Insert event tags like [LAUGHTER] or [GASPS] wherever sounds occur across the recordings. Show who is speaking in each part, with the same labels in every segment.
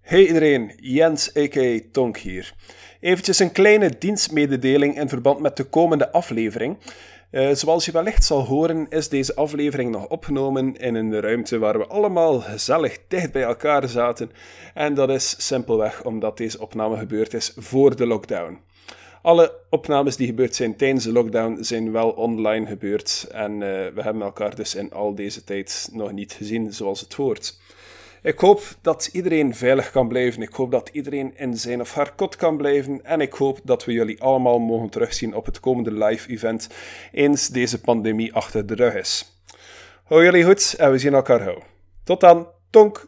Speaker 1: Hey iedereen, Jens a.k.a. Tonk hier. Eventjes een kleine dienstmededeling in verband met de komende aflevering. Eh, zoals je wellicht zal horen, is deze aflevering nog opgenomen in een ruimte waar we allemaal gezellig dicht bij elkaar zaten. En dat is simpelweg omdat deze opname gebeurd is voor de lockdown. Alle opnames die gebeurd zijn tijdens de lockdown zijn wel online gebeurd. En eh, we hebben elkaar dus in al deze tijd nog niet gezien zoals het hoort. Ik hoop dat iedereen veilig kan blijven. Ik hoop dat iedereen in zijn of haar kot kan blijven. En ik hoop dat we jullie allemaal mogen terugzien op het komende live-event. Eens deze pandemie achter de rug is. Hou jullie goed en we zien elkaar gauw. Tot dan. Tonk.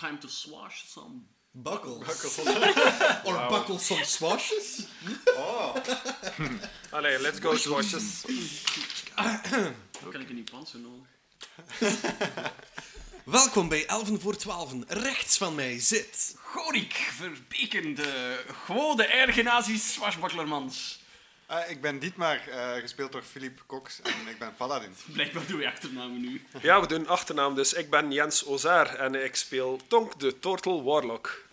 Speaker 2: Time to swash some.
Speaker 3: Buckles. [LAUGHS] or buckle some swashes?
Speaker 4: Allee, let's go, swashes.
Speaker 2: Hoe kan ik in die pansen hoor?
Speaker 3: Welkom bij Elven voor Twaalfen. Rechts van mij zit.
Speaker 2: Gorik, verbekende, gewone ergenazis swashbucklermans.
Speaker 5: Ah, ik ben Dietmar, eh, gespeeld door Philippe Cox en ik ben Paladin.
Speaker 2: Blijkbaar doen we achternamen nu.
Speaker 1: Ja, we doen achternaam dus. Ik ben Jens Ozaar en ik speel Tonk de Tortel Warlock.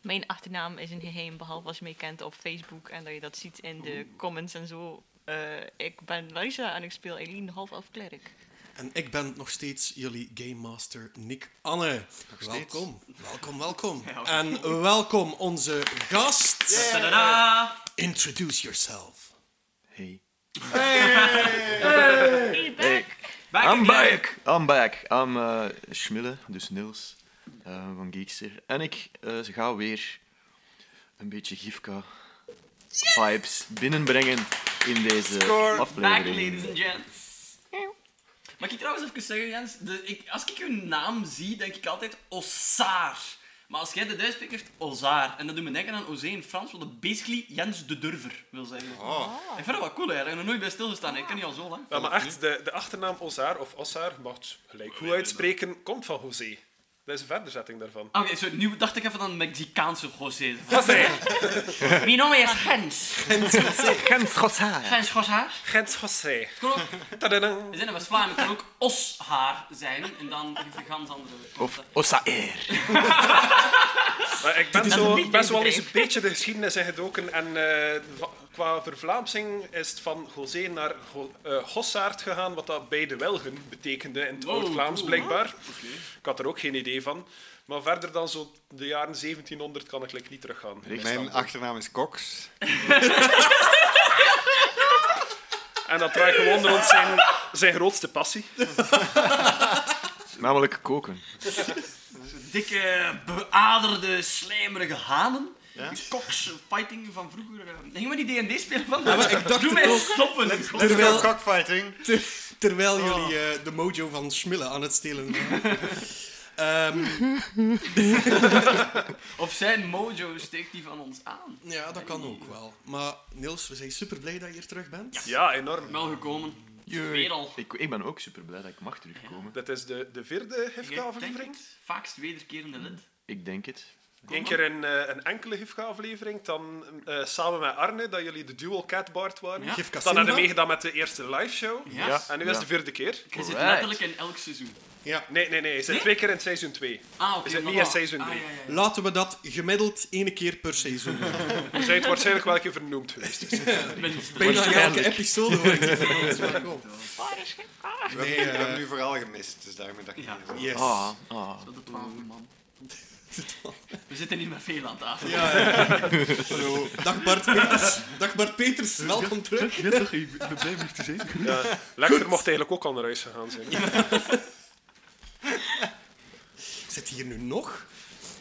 Speaker 6: Mijn achternaam is een geheim, behalve als je mij kent op Facebook en dat je dat ziet in de comments en zo. Eh, ik ben Larissa en ik speel Eileen half elf klerk.
Speaker 3: En ik ben nog steeds jullie Game Master Nick Anne. Welkom, welkom, welkom. En welkom onze gast.
Speaker 2: Tadaa!
Speaker 3: Introduce yourself.
Speaker 6: Hey, back!
Speaker 2: Back
Speaker 4: I'm
Speaker 2: again.
Speaker 4: back! I'm back. I'm eh Schmille, dus Niels eh, van Geekster. En ik eh, ga weer een beetje Gifka vibes binnenbrengen in deze
Speaker 2: Back,
Speaker 4: aflevering.
Speaker 2: ladies and gents. Mag ik trouwens even zeggen, Jens? De, ik, als ik uw naam zie, denk ik altijd Ossaar. Maar als jij de Duits spreekt, Ozaar. En dat doet me denken aan Ozee in Frans, wat dat basically Jens de Durver wil zeggen. Ik vind dat wel cool eigenlijk. Ik heb er nooit bij stilgestaan. Ik ken die al zo lang.
Speaker 1: Ja, maar echt, de, de achternaam Ozaar of Ossaar, mag het gelijk hoe uitspreken, komt van José. Dat is een verderzetting daarvan.
Speaker 2: Oké, sorry, nu dacht ik even aan Mexicaanse José. Mijn naam is Gens.
Speaker 4: Gent Gossaar.
Speaker 2: Gens Goshaar.
Speaker 1: Gent José.
Speaker 2: Kom op.
Speaker 1: Tadadang.
Speaker 2: We zijn in West-Vlaanderen, het kan ook oshaar zijn. En dan geeft een gans andere
Speaker 4: Of Ossaer.
Speaker 1: Maar ik ben
Speaker 6: is
Speaker 1: zo,
Speaker 6: een beetje
Speaker 1: ik ben zo wel eens een
Speaker 6: overdreven.
Speaker 1: beetje de geschiedenis ingedoken en eh, va- qua vervlaamsing is het van José naar Go- eh, Gossaard gegaan, wat dat bij de Welgen betekende in het
Speaker 2: Wow,
Speaker 1: Oud-Vlaams
Speaker 2: cool.
Speaker 1: blijkbaar.
Speaker 2: Oké.
Speaker 1: Ik had er ook geen idee van. Maar verder dan zo de jaren 1700 kan ik like, niet teruggaan.
Speaker 5: Mijn achternaam is Cox.
Speaker 1: En dat draait gewoon rond zijn, zijn grootste passie.
Speaker 4: Namelijk koken.
Speaker 2: Dikke, beaderde, slijmerige hanen. Die Koks fighting van vroeger. eh, Gingen we die D&D spelen van?
Speaker 3: maar ik dacht
Speaker 2: Doe
Speaker 3: het
Speaker 2: mij
Speaker 3: ook.
Speaker 2: stoppen. ik kom.
Speaker 3: Terwijl-
Speaker 5: Terwijl... Cockfighting.
Speaker 3: Ter- terwijl jullie eh, de mojo van Schmille aan het stelen waren. Ehm,
Speaker 2: Of zijn mojo steekt die van ons aan.
Speaker 3: ja, dat kan ook wel. Maar Niels, we zijn super blij dat je hier terug bent.
Speaker 1: Ja, enorm.
Speaker 2: Wel gekomen. Weer al.
Speaker 4: Ik, ik ben ook super blij dat ik mag terugkomen.
Speaker 1: Dit is de, de vierde Hifka-aflevering.
Speaker 2: Vaakst wederkerende lid.
Speaker 4: Ik denk het.
Speaker 1: Eén keer een, eh, een enkele Hifka-aflevering. Dan eh, samen met Arne, dat jullie de dual catbard waren.
Speaker 2: Ja.
Speaker 3: Gifka
Speaker 1: Dan hebben we
Speaker 3: Simba.
Speaker 1: meegedaan met de eerste liveshow.
Speaker 2: Ja.
Speaker 1: En nu is het de vierde keer.
Speaker 2: Je zit
Speaker 4: Alright.
Speaker 2: letterlijk in elk seizoen.
Speaker 3: Ja.
Speaker 1: Nee, nee, nee. Hij zit
Speaker 2: Nee?
Speaker 1: twee keer in seizoen 2.
Speaker 2: Ah, oké.
Speaker 1: Is het
Speaker 2: maar
Speaker 1: niet in
Speaker 2: voilà.
Speaker 1: seizoen
Speaker 2: Ah,
Speaker 1: drie?
Speaker 2: ja, ja, ja.
Speaker 3: Laten we dat gemiddeld één keer per seizoen doen.
Speaker 1: Dus hij is waarschijnlijk wel een keer vernoemd geweest.
Speaker 2: Minstens.
Speaker 3: Bijna elke
Speaker 4: Waarschijnlijk.
Speaker 3: episode wordt die vernoemd, maar kom.
Speaker 5: We, hebben-
Speaker 3: Nee,
Speaker 5: we
Speaker 3: eh,
Speaker 5: hebben nu vooral gemist, dus daarmee dacht ik
Speaker 2: Ja.
Speaker 5: niet zo.
Speaker 3: Yes.
Speaker 4: Ah, ah.
Speaker 2: Dat is twaalf man. We zitten niet met veel aan tafel.
Speaker 3: Ja, Hallo. Dag Bart Peters. Dag Bart Peters, welkom terug.
Speaker 4: ik ben blij om te zijn.
Speaker 1: Lecter mocht eigenlijk ook al naar huis gegaan zijn.
Speaker 3: Zit hier nu nog?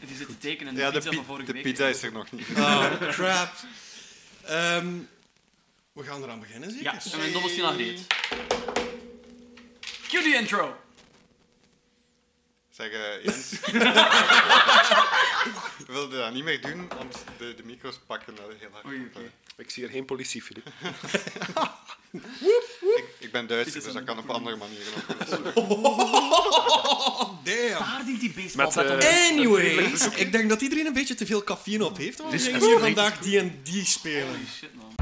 Speaker 2: Die zitten tekenen de
Speaker 5: Ja, de,
Speaker 2: pizza van
Speaker 5: pi-
Speaker 2: vorige
Speaker 5: de
Speaker 2: week.
Speaker 5: pizza is er nog niet.
Speaker 3: Ah, crap. Ehm, we gaan eraan beginnen, zeker?
Speaker 2: Ja, en mijn dobbelsteen aan reed. Cue the intro!
Speaker 5: Zeg, eh, Jens.
Speaker 3: [LAUGHS]
Speaker 5: We wilden dat niet meer doen, want de, de micro's pakken dat heel hard.
Speaker 2: Oei,
Speaker 5: op,
Speaker 2: oké.
Speaker 5: eh.
Speaker 1: Ik zie hier geen politie, Filip.
Speaker 5: Ik, ik ben Duits,
Speaker 2: Dit is
Speaker 5: dus
Speaker 2: een
Speaker 5: dat kan op andere manieren ook.
Speaker 3: Oh, damn.
Speaker 2: Waar dient die baseball
Speaker 1: Met, eh,
Speaker 3: Anyways, ik denk dat iedereen een beetje te veel cafeïne op heeft. Want we
Speaker 4: Dit is
Speaker 3: gaan hier
Speaker 4: echt
Speaker 3: vandaag D&D spelen.
Speaker 2: Holy shit, man.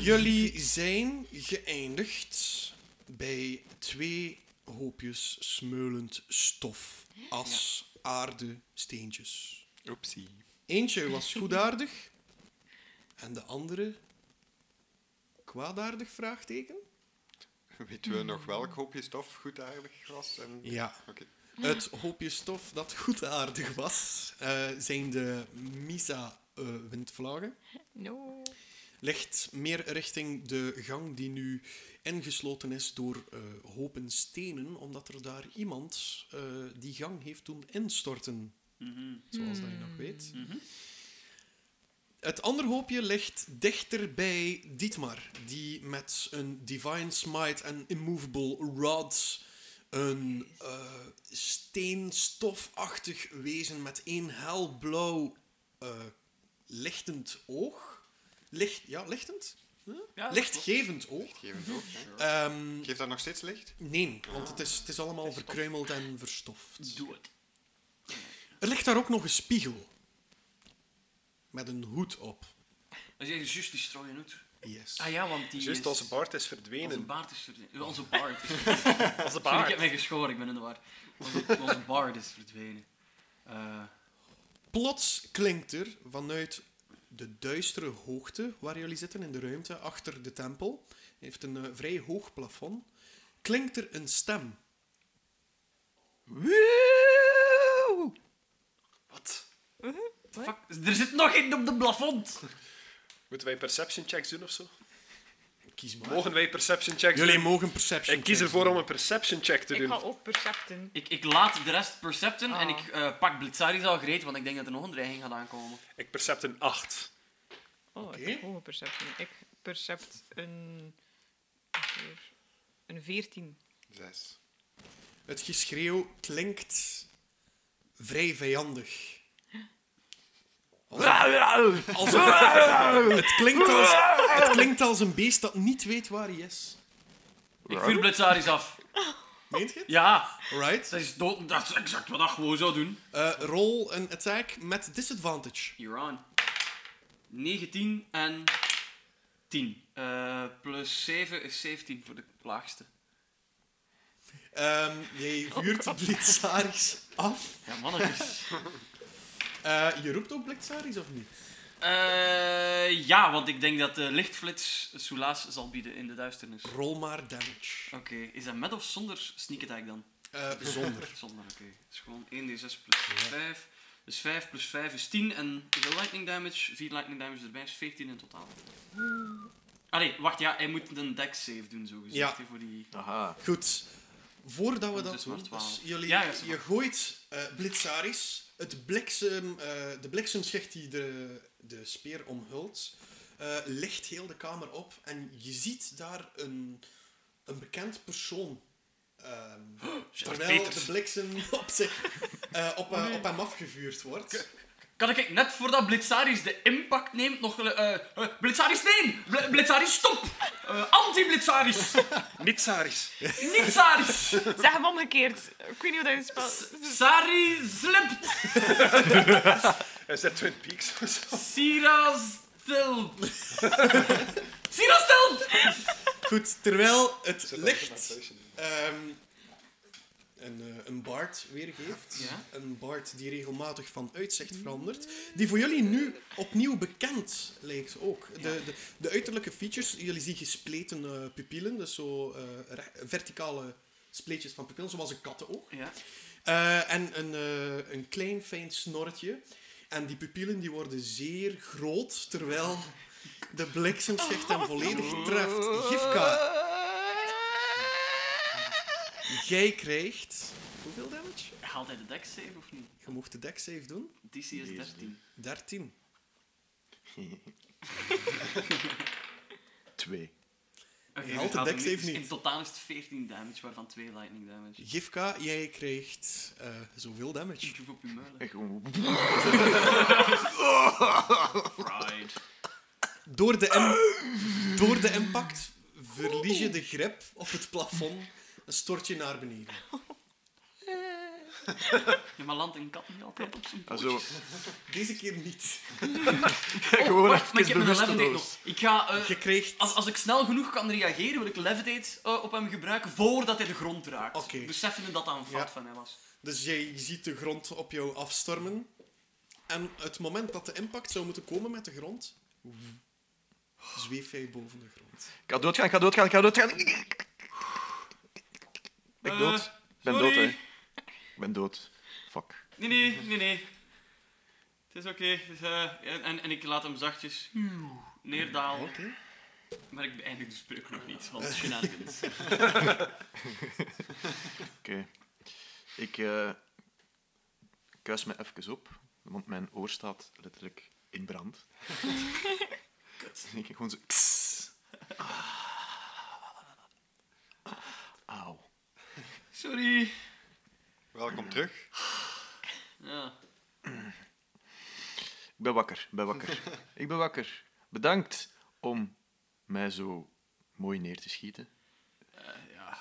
Speaker 3: Jullie zijn geëindigd bij twee hoopjes smeulend stof. As, aarde, steentjes.
Speaker 5: Oepsie.
Speaker 3: Eentje was goedaardig en de andere kwaadaardig? Vraagteken.
Speaker 2: [LAUGHS]
Speaker 5: Weten we nog welk hoopje stof goedaardig was? En...
Speaker 3: Ja.
Speaker 5: Oké.
Speaker 3: Het hoopje stof dat goedaardig was, eh, zijn de eh, Misa-windvlagen.
Speaker 6: No.
Speaker 3: ligt meer richting de gang die nu ingesloten is door eh, hopen stenen, omdat er daar iemand eh, die gang heeft doen instorten. Zoals dat je nog weet. Het andere hoopje ligt dichter bij Dietmar, die met een Divine Smite en Immovable Rod een eh, steenstofachtig wezen met één helblauw eh, lichtend oog. Licht, ja, lichtend? Huh?
Speaker 2: Ja,
Speaker 3: Lichtgevend oog.
Speaker 5: Geef het ook. hè.
Speaker 3: Ehm,
Speaker 5: Geeft dat nog steeds licht?
Speaker 3: nee, want het is, het is allemaal verkruimeld en verstoft.
Speaker 2: Doe het.
Speaker 3: Er ligt daar ook nog een spiegel. Met een hoed op.
Speaker 2: Dat is juist die strooien hoed.
Speaker 3: Yes.
Speaker 2: Ah ja, want die
Speaker 1: Juist
Speaker 2: is...
Speaker 1: als Bart is
Speaker 2: Onze
Speaker 1: verdwenen.
Speaker 2: baard is verdwenen. Onze baard. is-
Speaker 7: Als de
Speaker 2: Sorry, ik
Speaker 7: baard.
Speaker 2: heb mij geschoren, ik ben in de war. Onze, onze baard is verdwenen. Eh,
Speaker 3: Plots klinkt er vanuit de duistere hoogte waar jullie zitten in de ruimte achter de tempel, heeft een eh, vrij hoog plafond, klinkt er een stem.
Speaker 1: Wat?
Speaker 2: fuck, er zit nog één op de plafond!
Speaker 1: Moeten wij perception checks doen of zo?
Speaker 3: Kies maar.
Speaker 1: Mogen wij perception checks
Speaker 3: Jullie
Speaker 1: doen?
Speaker 3: mogen perception.
Speaker 1: Ik kies
Speaker 3: checks
Speaker 1: ervoor
Speaker 3: doen.
Speaker 1: om een perception check te
Speaker 6: Ik
Speaker 1: doen.
Speaker 6: ga ook percepten.
Speaker 2: Ik, ik laat de rest percepten en
Speaker 6: Ah.
Speaker 2: ik eh, pak Blitzaris al gereed, want ik denk dat er nog een dreiging gaat aankomen.
Speaker 1: Ik percept een 8.
Speaker 6: Oh, ik
Speaker 3: Oké.
Speaker 6: heb hoge perceptie. Ik percept een... hier, Een 14.
Speaker 5: Zes.
Speaker 3: Het geschreeuw klinkt vrij vijandig. Als het, klinkt als, het klinkt als een beest dat niet weet waar hij is.
Speaker 2: Ik vuur Blitzaris af.
Speaker 3: Meent je het?
Speaker 2: Ja,
Speaker 3: Alright.
Speaker 2: dat is, dood, dat is exact wat ik gewoon zou doen.
Speaker 3: Eh, roll een attack met disadvantage.
Speaker 2: You're on. 19 en 10. Eh, plus 7 is 17 voor de laagste.
Speaker 3: Ehm, jij vuurt Blitzaris af.
Speaker 2: Ja, mannetjes.
Speaker 3: Eh, je roept ook Blitzaris of niet?
Speaker 2: [LAUGHS] Eh, ja, want ik denk dat de lichtflits soelaas zal bieden in de duisternis. Oké,
Speaker 3: Roll maar damage.
Speaker 2: is dat met of zonder sneak attack dan?
Speaker 3: Eh, zonder.
Speaker 2: [LAUGHS] Zonder, oké. Het is gewoon 1d6 plus 5. Dus 5 plus 5 is 10 en de lightning damage, 4 lightning damage erbij is 14 in totaal. Allee, wacht, ja, hij moet een dex save doen, zo gezegd.
Speaker 3: Ja.
Speaker 2: hè, voor die...
Speaker 4: Aha.
Speaker 3: Goed. Voordat we
Speaker 2: Het
Speaker 3: dat
Speaker 2: is maar
Speaker 3: doen,
Speaker 2: twaalf.
Speaker 3: dus jullie,
Speaker 2: Ja, ja, is
Speaker 3: je gooit eh Blitzaris, het bliksem, eh, de bliksemschicht die de, de speer omhult, eh licht heel de kamer op en je ziet daar een, een bekend persoon.
Speaker 2: [GASPS]
Speaker 3: ehm, terwijl
Speaker 2: Peters. Oh,
Speaker 3: de bliksem op, zich, eh, op, eh, op hem afgevuurd wordt.
Speaker 2: Kan ik net voordat Blitzaris de impact neemt nog... eh eh, Blitzaris, nee! Bl- Blitzaris, stop! Eh,
Speaker 3: [LAUGHS]
Speaker 2: Anti-Blitzaris!
Speaker 1: Niet Saris.
Speaker 2: Niet Saris!
Speaker 6: Zeg hem omgekeerd. Ik weet niet hoe dat je het spelt.
Speaker 2: Sari slipt!
Speaker 1: Is dat Twin Peaks [LAUGHS] of zo?
Speaker 2: Sira
Speaker 3: [LAUGHS]
Speaker 2: stilp! Sira stilp!
Speaker 3: Goed, terwijl het
Speaker 1: Zet dat op
Speaker 3: licht
Speaker 1: Temptation.
Speaker 3: ehm, een, eh, een baard weergeeft.
Speaker 2: Ja.
Speaker 3: Een baard die regelmatig van uitzicht verandert. Die voor jullie nu opnieuw bekend lijkt ook. De, de, de uiterlijke features, jullie zien gespleten eh, pupillen. Dus zo eh, re- verticale spleetjes van pupillen, zoals een kattenoog.
Speaker 2: Ja.
Speaker 3: Eh, en een, eh, een klein fijn snorretje. En die pupillen die worden zeer groot, terwijl de bliksemschicht hem volledig treft. Gifka, jij krijgt... Hoeveel damage?
Speaker 2: Haalt hij de dex save of niet?
Speaker 3: Je mocht de deck save doen.
Speaker 2: DC is 13.
Speaker 3: 13.
Speaker 4: Twee.
Speaker 2: Oké,
Speaker 3: Hij haalt de
Speaker 2: dus
Speaker 3: dex
Speaker 2: hem
Speaker 3: save niet.
Speaker 2: In totaal is het 14 damage, waarvan 2 lightning damage.
Speaker 3: Gifka, jij krijgt eh, zoveel damage.
Speaker 2: Tjoef op je muilen.
Speaker 4: Echt gewoon...
Speaker 2: Fried.
Speaker 3: Door de, im- door de impact verlies je de grip op het plafond en stort je naar beneden.
Speaker 2: Ja, maar land en kat niet altijd op zijn pootjes.
Speaker 4: [LAUGHS] Also,
Speaker 3: Deze keer niet.
Speaker 4: gewoon
Speaker 2: Oh, Wacht, maar ik
Speaker 4: even
Speaker 2: heb een levitate
Speaker 4: bewusteloos.
Speaker 2: nog. Ik ga... eh,
Speaker 3: Je kreeg...
Speaker 2: als, als ik snel genoeg kan reageren, wil ik levitate eh, op hem gebruiken voordat hij de grond raakt.
Speaker 3: Oké.
Speaker 2: Beseffende dat dat een fout
Speaker 3: Ja.
Speaker 2: van hem was.
Speaker 3: Dus jij ziet de grond op jou afstormen. En het moment dat de impact zou moeten komen met de grond, zweef jij boven de grond.
Speaker 4: Ik ga doodgaan, ik ga doodgaan, ik ga doodgaan. Ben ik
Speaker 2: Eh,
Speaker 4: dood? Ik ben
Speaker 2: sorry.
Speaker 4: dood, hè. Ik ben dood. Fuck.
Speaker 2: Nee, nee, nee, nee. Het is oké. het is, eh, en, en ik laat hem zachtjes neerdalen. Maar ik beëindig de spreuk nog niet, want het is shenanigans.
Speaker 4: Oké. Ik eh, kuis me even op, want mijn oor staat letterlijk in brand. Dus ik gewoon zo... kss. Ah. Auw.
Speaker 2: Sorry.
Speaker 5: Welkom terug.
Speaker 2: Ja.
Speaker 4: Ik ben wakker, ik ben wakker. Ik ben wakker. Bedankt om mij zo mooi neer te schieten.
Speaker 2: eh,
Speaker 4: ja.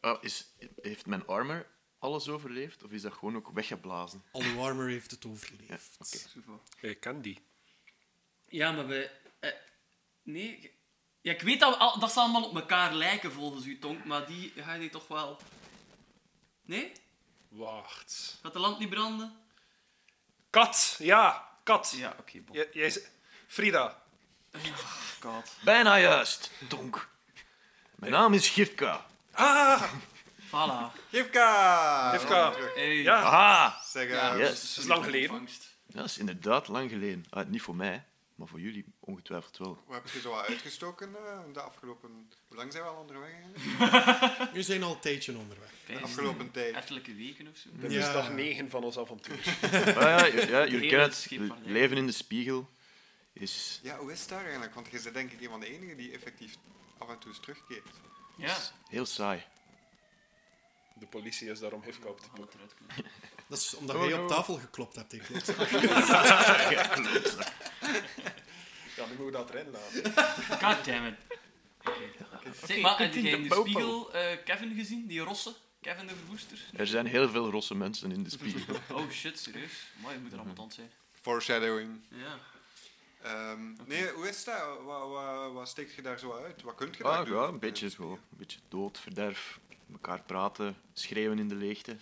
Speaker 4: Ah, is, heeft mijn armor alles overleefd of is dat gewoon ook weggeblazen?
Speaker 3: Alle warmer heeft het overleefd.
Speaker 4: Ja, oké.
Speaker 1: Ik ken die.
Speaker 2: Ja, maar we... eh, nee... ik- Ja, ik weet dat, we al, dat ze allemaal op elkaar lijken volgens u, Tonk, maar die ga je toch wel... Nee?
Speaker 1: Wacht.
Speaker 2: Gaat de land niet branden?
Speaker 1: Kat, ja, kat.
Speaker 2: Ja, oké, bon.
Speaker 1: J- jij z- Frida.
Speaker 4: Bijna juist, Donk. Mijn naam is Gifka.
Speaker 1: Ah,
Speaker 2: Voilà.
Speaker 5: Gifka!
Speaker 1: Gifka.
Speaker 5: Welkom terug.
Speaker 2: Hey.
Speaker 1: ja.
Speaker 4: Aha!
Speaker 5: Zeg,
Speaker 2: Ja,
Speaker 5: eh,
Speaker 4: Yes.
Speaker 1: is lang geleden.
Speaker 2: Ontvangst.
Speaker 4: Dat is inderdaad lang geleden. Ah, niet voor mij, maar voor jullie
Speaker 2: [LAUGHS]
Speaker 4: ongetwijfeld wel.
Speaker 5: Wat heb je zo wat uitgestoken eh, de afgelopen... Hoe lang zijn we al onderweg eigenlijk?
Speaker 3: We zijn al een tijdje onderweg.
Speaker 5: De afgelopen tijd.
Speaker 2: Ettelijke weken of zo.
Speaker 1: Dit
Speaker 3: Ja.
Speaker 1: is dag 9 van ons avontuur.
Speaker 4: Ah, ja, ja, ja, jullie
Speaker 2: Hele
Speaker 4: kennen het.
Speaker 2: schip van-
Speaker 4: Leven in de spiegel is...
Speaker 5: Ja, hoe is het daar eigenlijk? Want je bent denk ik een van de enigen die effectief af en toe eens terugkeert.
Speaker 2: Ja.
Speaker 4: Heel
Speaker 2: [LAUGHS]
Speaker 4: saai.
Speaker 1: De politie is daarom Gifka op te pakken.
Speaker 3: Dat is omdat
Speaker 6: Oh,
Speaker 3: jij op tafel geklopt hebt, ik klopt.
Speaker 1: Ja, nu moeten we dat erin laten.
Speaker 2: God damn it. Zeg, maar heb jij in de
Speaker 4: popo.
Speaker 2: spiegel eh, Kevin gezien? Die rosse? Kevin de verwoester?
Speaker 4: Er zijn heel veel rosse mensen in de
Speaker 2: [LAUGHS]
Speaker 4: spiegel.
Speaker 2: Oh shit, serieus? Mooi, je moet er ambetant zijn.
Speaker 5: Foreshadowing.
Speaker 2: Ja.
Speaker 5: Ehm, Nee, hoe is het daar? Wat, wat, wat steekt je daar zo uit? Wat kunt je daar
Speaker 4: Ah,
Speaker 5: doen?
Speaker 4: ja, een beetje zo. Een beetje dood, verderf. Mekaar praten, schreeuwen in de leegte.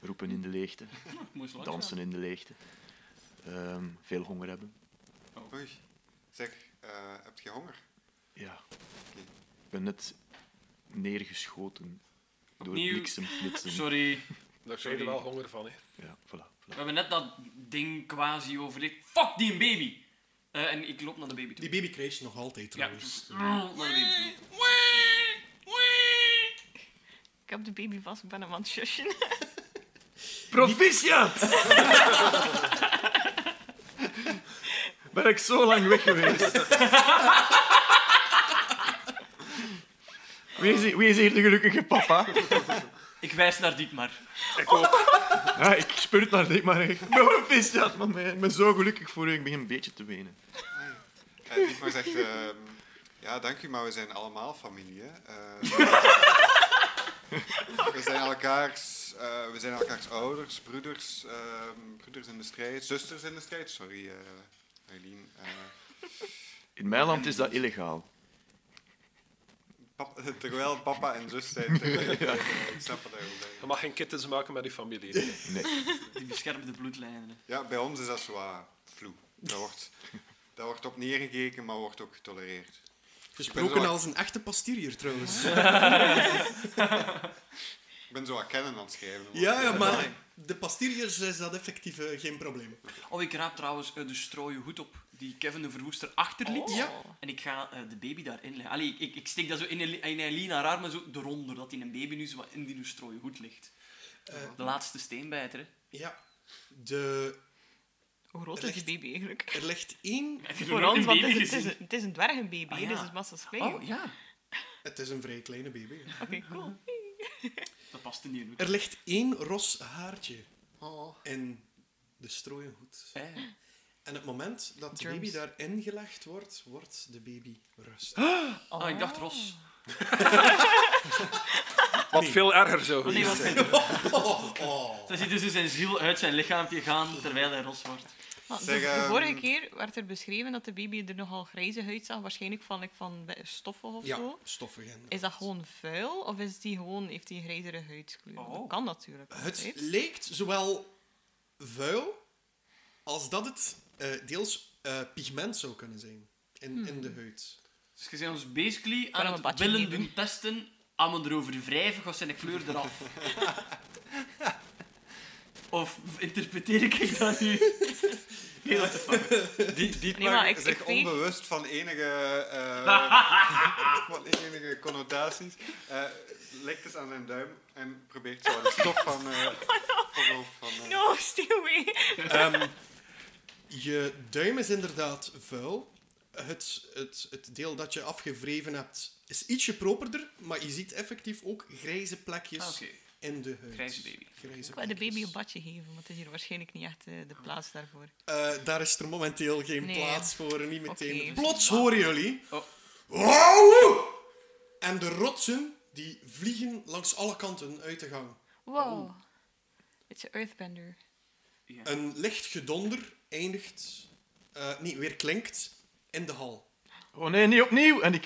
Speaker 4: Roepen in de
Speaker 2: [LAUGHS]
Speaker 4: leegte.
Speaker 2: Ik moest langs
Speaker 4: Dansen in de leegte. Ehm, veel honger hebben.
Speaker 5: Oei. Zeg, eh, heb je honger?
Speaker 4: Ja. Ik ben net neergeschoten door
Speaker 2: Opnieuw. gaan.
Speaker 4: bliksemflitsen.
Speaker 2: Sorry.
Speaker 1: Daar krijg je
Speaker 2: Sorry.
Speaker 1: wel honger van, hè.
Speaker 4: Ja, voilà.
Speaker 2: We
Speaker 4: voilà.
Speaker 2: hebben net dat ding quasi overleefd. Fuck die een baby! Eh, en ik loop naar de baby toe.
Speaker 3: Die baby krijg je nog altijd
Speaker 2: Ja. Mm,
Speaker 3: trouwens.
Speaker 2: Naar de baby toe.
Speaker 6: Ik heb de baby vast, ik ben hem aan het shushen.
Speaker 4: Proficiat! [LAUGHS] ben ik zo lang weg geweest. Wie is, hier, wie is hier de gelukkige papa?
Speaker 2: Ik wijs naar Dietmar.
Speaker 4: Ja, ik spurt naar dit maar echt. Ik ben wel een visjaat, man. Ik ben zo gelukkig voor u. Ik begin een beetje te wenen.
Speaker 5: Eh, Dietmar zegt, ehm, ja, dank u, maar we zijn allemaal familie. hè. Eh, [LAUGHS] we, zijn elkaars, eh, we zijn elkaars ouders, broeders, ehm, broeders in de strijd, zusters in de strijd. Sorry, eh Eileen. eh,
Speaker 4: In mijn land is dat illegaal.
Speaker 5: pap- [LAUGHS] terwijl papa en zus zijn. tegelijk. Eh, ik snap wat hij wil
Speaker 1: Je
Speaker 5: zeggen.
Speaker 1: mag geen kittens maken met je familie.
Speaker 2: Die beschermt de bloedlijnen.
Speaker 5: Ja, bij ons is dat zo wat vloe. Dat wordt, dat wordt op neergekeken, maar wordt ook getolereerd. Ik ben
Speaker 3: Gesproken
Speaker 5: zo-
Speaker 3: als een echte pastirier trouwens.
Speaker 5: Ik ben zo wat kennen aan het schrijven.
Speaker 3: Ja, ja, maar de pastiriers is dat effectief eh, geen probleem.
Speaker 2: Oh, ik raap trouwens eh, de strooien hoed op die Kevin de Verwoester achterliet.
Speaker 6: Oh.
Speaker 3: Ja.
Speaker 2: En ik ga eh, de baby daarin leggen. Allee, ik, ik steek dat zo in, Eli- in Eileen haar armen, zo eronder, dat die een baby nu zo wat in die strooien hoed ligt.
Speaker 6: Eh,
Speaker 2: de laatste steenbijter, hè.
Speaker 3: Ja. De,
Speaker 6: [LAUGHS] Hoe groot is die baby eigenlijk?
Speaker 3: er ligt één...
Speaker 2: Heb je nog
Speaker 6: Voor
Speaker 2: nooit een
Speaker 6: ons, want het
Speaker 2: baby
Speaker 6: is, het
Speaker 2: gezien?
Speaker 6: is, het is een dwergenbaby,
Speaker 2: Ah,
Speaker 6: hè,
Speaker 2: ja.
Speaker 6: dus het is massa schreeuw.
Speaker 2: Oh, ja.
Speaker 3: Het is een vrij kleine baby. hè.
Speaker 6: Oké, cool.
Speaker 2: Dat past in die hoed.
Speaker 3: Er ligt één ros haartje
Speaker 6: Oh.
Speaker 3: in de strooienhoed.
Speaker 2: Eh,
Speaker 3: En het moment dat de
Speaker 6: Germs.
Speaker 3: baby daarin gelegd wordt,
Speaker 2: oh,
Speaker 3: wordt de baby rustig.
Speaker 2: Ah, ik dacht Ros.
Speaker 1: Wat
Speaker 3: Nee.
Speaker 1: veel erger zou
Speaker 6: Oh,
Speaker 2: Nee,
Speaker 1: geweest
Speaker 2: wat
Speaker 1: zijn.
Speaker 2: [LAUGHS] Ze ziet dus hoe zijn ziel uit zijn lichaam te gaan terwijl hij los wordt.
Speaker 6: Want de,
Speaker 5: Zeg,
Speaker 6: de
Speaker 5: ehm,
Speaker 6: vorige keer werd er beschreven dat de baby er nogal grijze huid zag, waarschijnlijk van, like, van stoffen of
Speaker 3: Ja,
Speaker 6: zo.
Speaker 3: stoffig. En...
Speaker 6: Is dat gewoon vuil of is die gewoon, heeft die grijzere huidskleur?
Speaker 2: Oh.
Speaker 6: Dat kan natuurlijk.
Speaker 3: Het
Speaker 6: altijd.
Speaker 3: leek zowel vuil als dat het eh, deels eh, pigment zou kunnen zijn in,
Speaker 2: Hmm.
Speaker 3: in de huid.
Speaker 2: Dus je bent ons basically
Speaker 6: Waarom
Speaker 2: aan
Speaker 6: een
Speaker 2: het
Speaker 6: badje
Speaker 2: willen
Speaker 6: niet
Speaker 2: doen
Speaker 6: doen?
Speaker 2: testen. Aan me erover wrijven, gaat zijn de kleur eraf. of interpreteer ik dat nu? Heel te fuck.
Speaker 5: Die, die
Speaker 6: Nee, maar ik-
Speaker 5: zich
Speaker 6: ik weet-
Speaker 5: onbewust van enige, eh, van enige connotaties. eh lekt eens aan zijn duim en probeert zo de stof van...
Speaker 6: [LAUGHS]
Speaker 5: eh van, van eh,
Speaker 6: [LAUGHS] No, stay away.
Speaker 3: Ehm, je duim is inderdaad vuil. Het, het, het deel dat je afgewreven hebt is ietsje properder, maar je ziet effectief ook grijze plekjes
Speaker 2: Ah, oké.
Speaker 3: in de huid.
Speaker 2: Grijze baby.
Speaker 3: Grijze
Speaker 6: Ik wou de baby
Speaker 3: plekjes.
Speaker 6: een badje geven, want het is hier waarschijnlijk niet echt eh, de plaats daarvoor.
Speaker 3: Eh, daar is er momenteel geen
Speaker 6: Nee.
Speaker 3: plaats voor, niet meteen.
Speaker 6: Oké.
Speaker 3: Plots horen jullie...
Speaker 2: Oh.
Speaker 3: Wow! En de rotsen, die vliegen langs alle kanten uit de gang.
Speaker 6: Wow. Oh. It's an earthbender.
Speaker 3: Een licht gedonder eindigt... eh, nee, weer klinkt in de hal.
Speaker 4: Oh nee, niet opnieuw! En ik...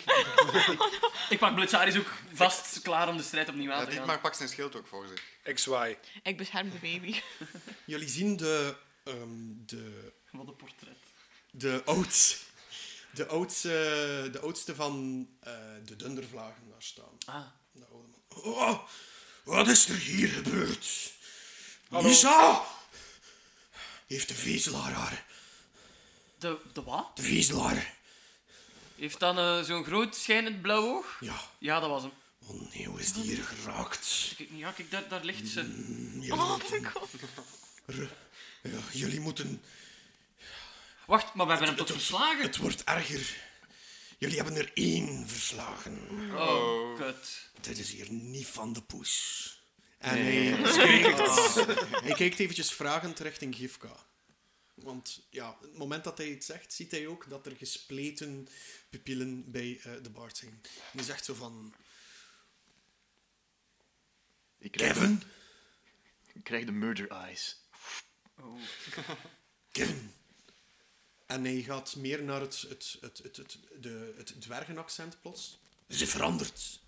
Speaker 2: Ik pak Blitzaris ook vast klaar om de strijd opnieuw
Speaker 5: ja,
Speaker 2: aan te gaan.
Speaker 5: Dietmar pakt zijn schild ook voor zich.
Speaker 1: Ik zwaai.
Speaker 6: Ik bescherm de baby.
Speaker 3: Jullie zien de... ehm, de,
Speaker 2: Wat een portret.
Speaker 3: de oud... De oudste, de oudste van eh, de dundervlagen daar staan.
Speaker 2: Ah.
Speaker 3: De oude man. Oh, wat is er hier gebeurd?
Speaker 1: Hallo.
Speaker 3: Lisa! Heeft de vezelaar haar.
Speaker 2: De, de wat?
Speaker 3: De vezelaar.
Speaker 2: Heeft dan eh, zo'n groot schijnend blauw oog?
Speaker 3: Ja.
Speaker 2: Ja, dat was hem.
Speaker 3: Oh nee, hoe is die hier geraakt?
Speaker 2: Kijk, ja, kijk daar, daar ligt ze.
Speaker 3: Jullie,
Speaker 6: [LAUGHS] Oh
Speaker 3: moeten,
Speaker 6: my god.
Speaker 3: ja, jullie moeten...
Speaker 2: Wacht, maar we hebben hem toch verslagen?
Speaker 3: Het wordt erger. Jullie hebben er één verslagen.
Speaker 2: Oh, kut.
Speaker 3: Dit is hier niet van de poes. En hij, kijkt, hij kijkt eventjes vragend richting Gifka. Want ja, het moment dat hij het zegt, ziet hij ook dat er gespleten pupillen bij eh, de baard zijn. En hij zegt zo van...
Speaker 4: Ik krijg, de,
Speaker 3: Kevin?
Speaker 4: ik krijg de murder eyes.
Speaker 3: Kevin. En hij gaat meer naar het, het, het, het, het, de, het dwergenaccent plots. Ze verandert.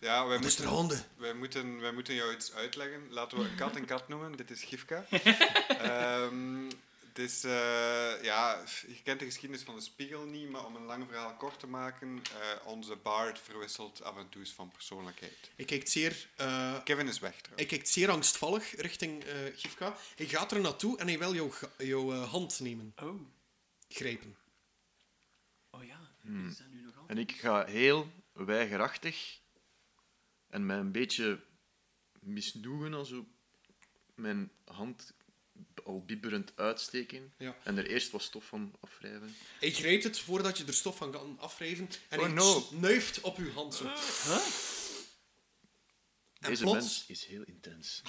Speaker 5: Ja, wij
Speaker 3: Wat is er
Speaker 5: moeten,
Speaker 3: handen?
Speaker 5: wij, moeten, wij moeten jou iets uitleggen. Laten we een kat een kat noemen. Dit is
Speaker 6: [LAUGHS]
Speaker 5: Gifka. Ehm, het is, eh, ja, je kent de geschiedenis van de spiegel niet, maar om een lang verhaal kort te maken, eh, onze Bard verwisselt af en toe eens van persoonlijkheid.
Speaker 3: Hij kijkt zeer... eh,
Speaker 5: Kevin is weg
Speaker 3: Hij
Speaker 5: trouwens.
Speaker 3: kijkt zeer angstvallig richting eh Gifka. Hij gaat er naartoe en hij wil jouw ga- jouw eh, hand nemen,
Speaker 2: Oh,
Speaker 3: grijpen.
Speaker 2: oh ja. Is dat nu nog altijd?
Speaker 4: En ik ga heel weigerachtig en mij een beetje misnoegen als ik mijn hand al bibberend uitsteken
Speaker 3: Ja.
Speaker 4: en er eerst wat stof van afwrijven.
Speaker 3: Hij grijpt het voordat je er stof van kan afwrijven en
Speaker 4: Oh,
Speaker 3: hij
Speaker 4: no.
Speaker 3: snuift op uw hand. Zo. En
Speaker 4: Deze
Speaker 3: plots,
Speaker 4: mens is heel intens.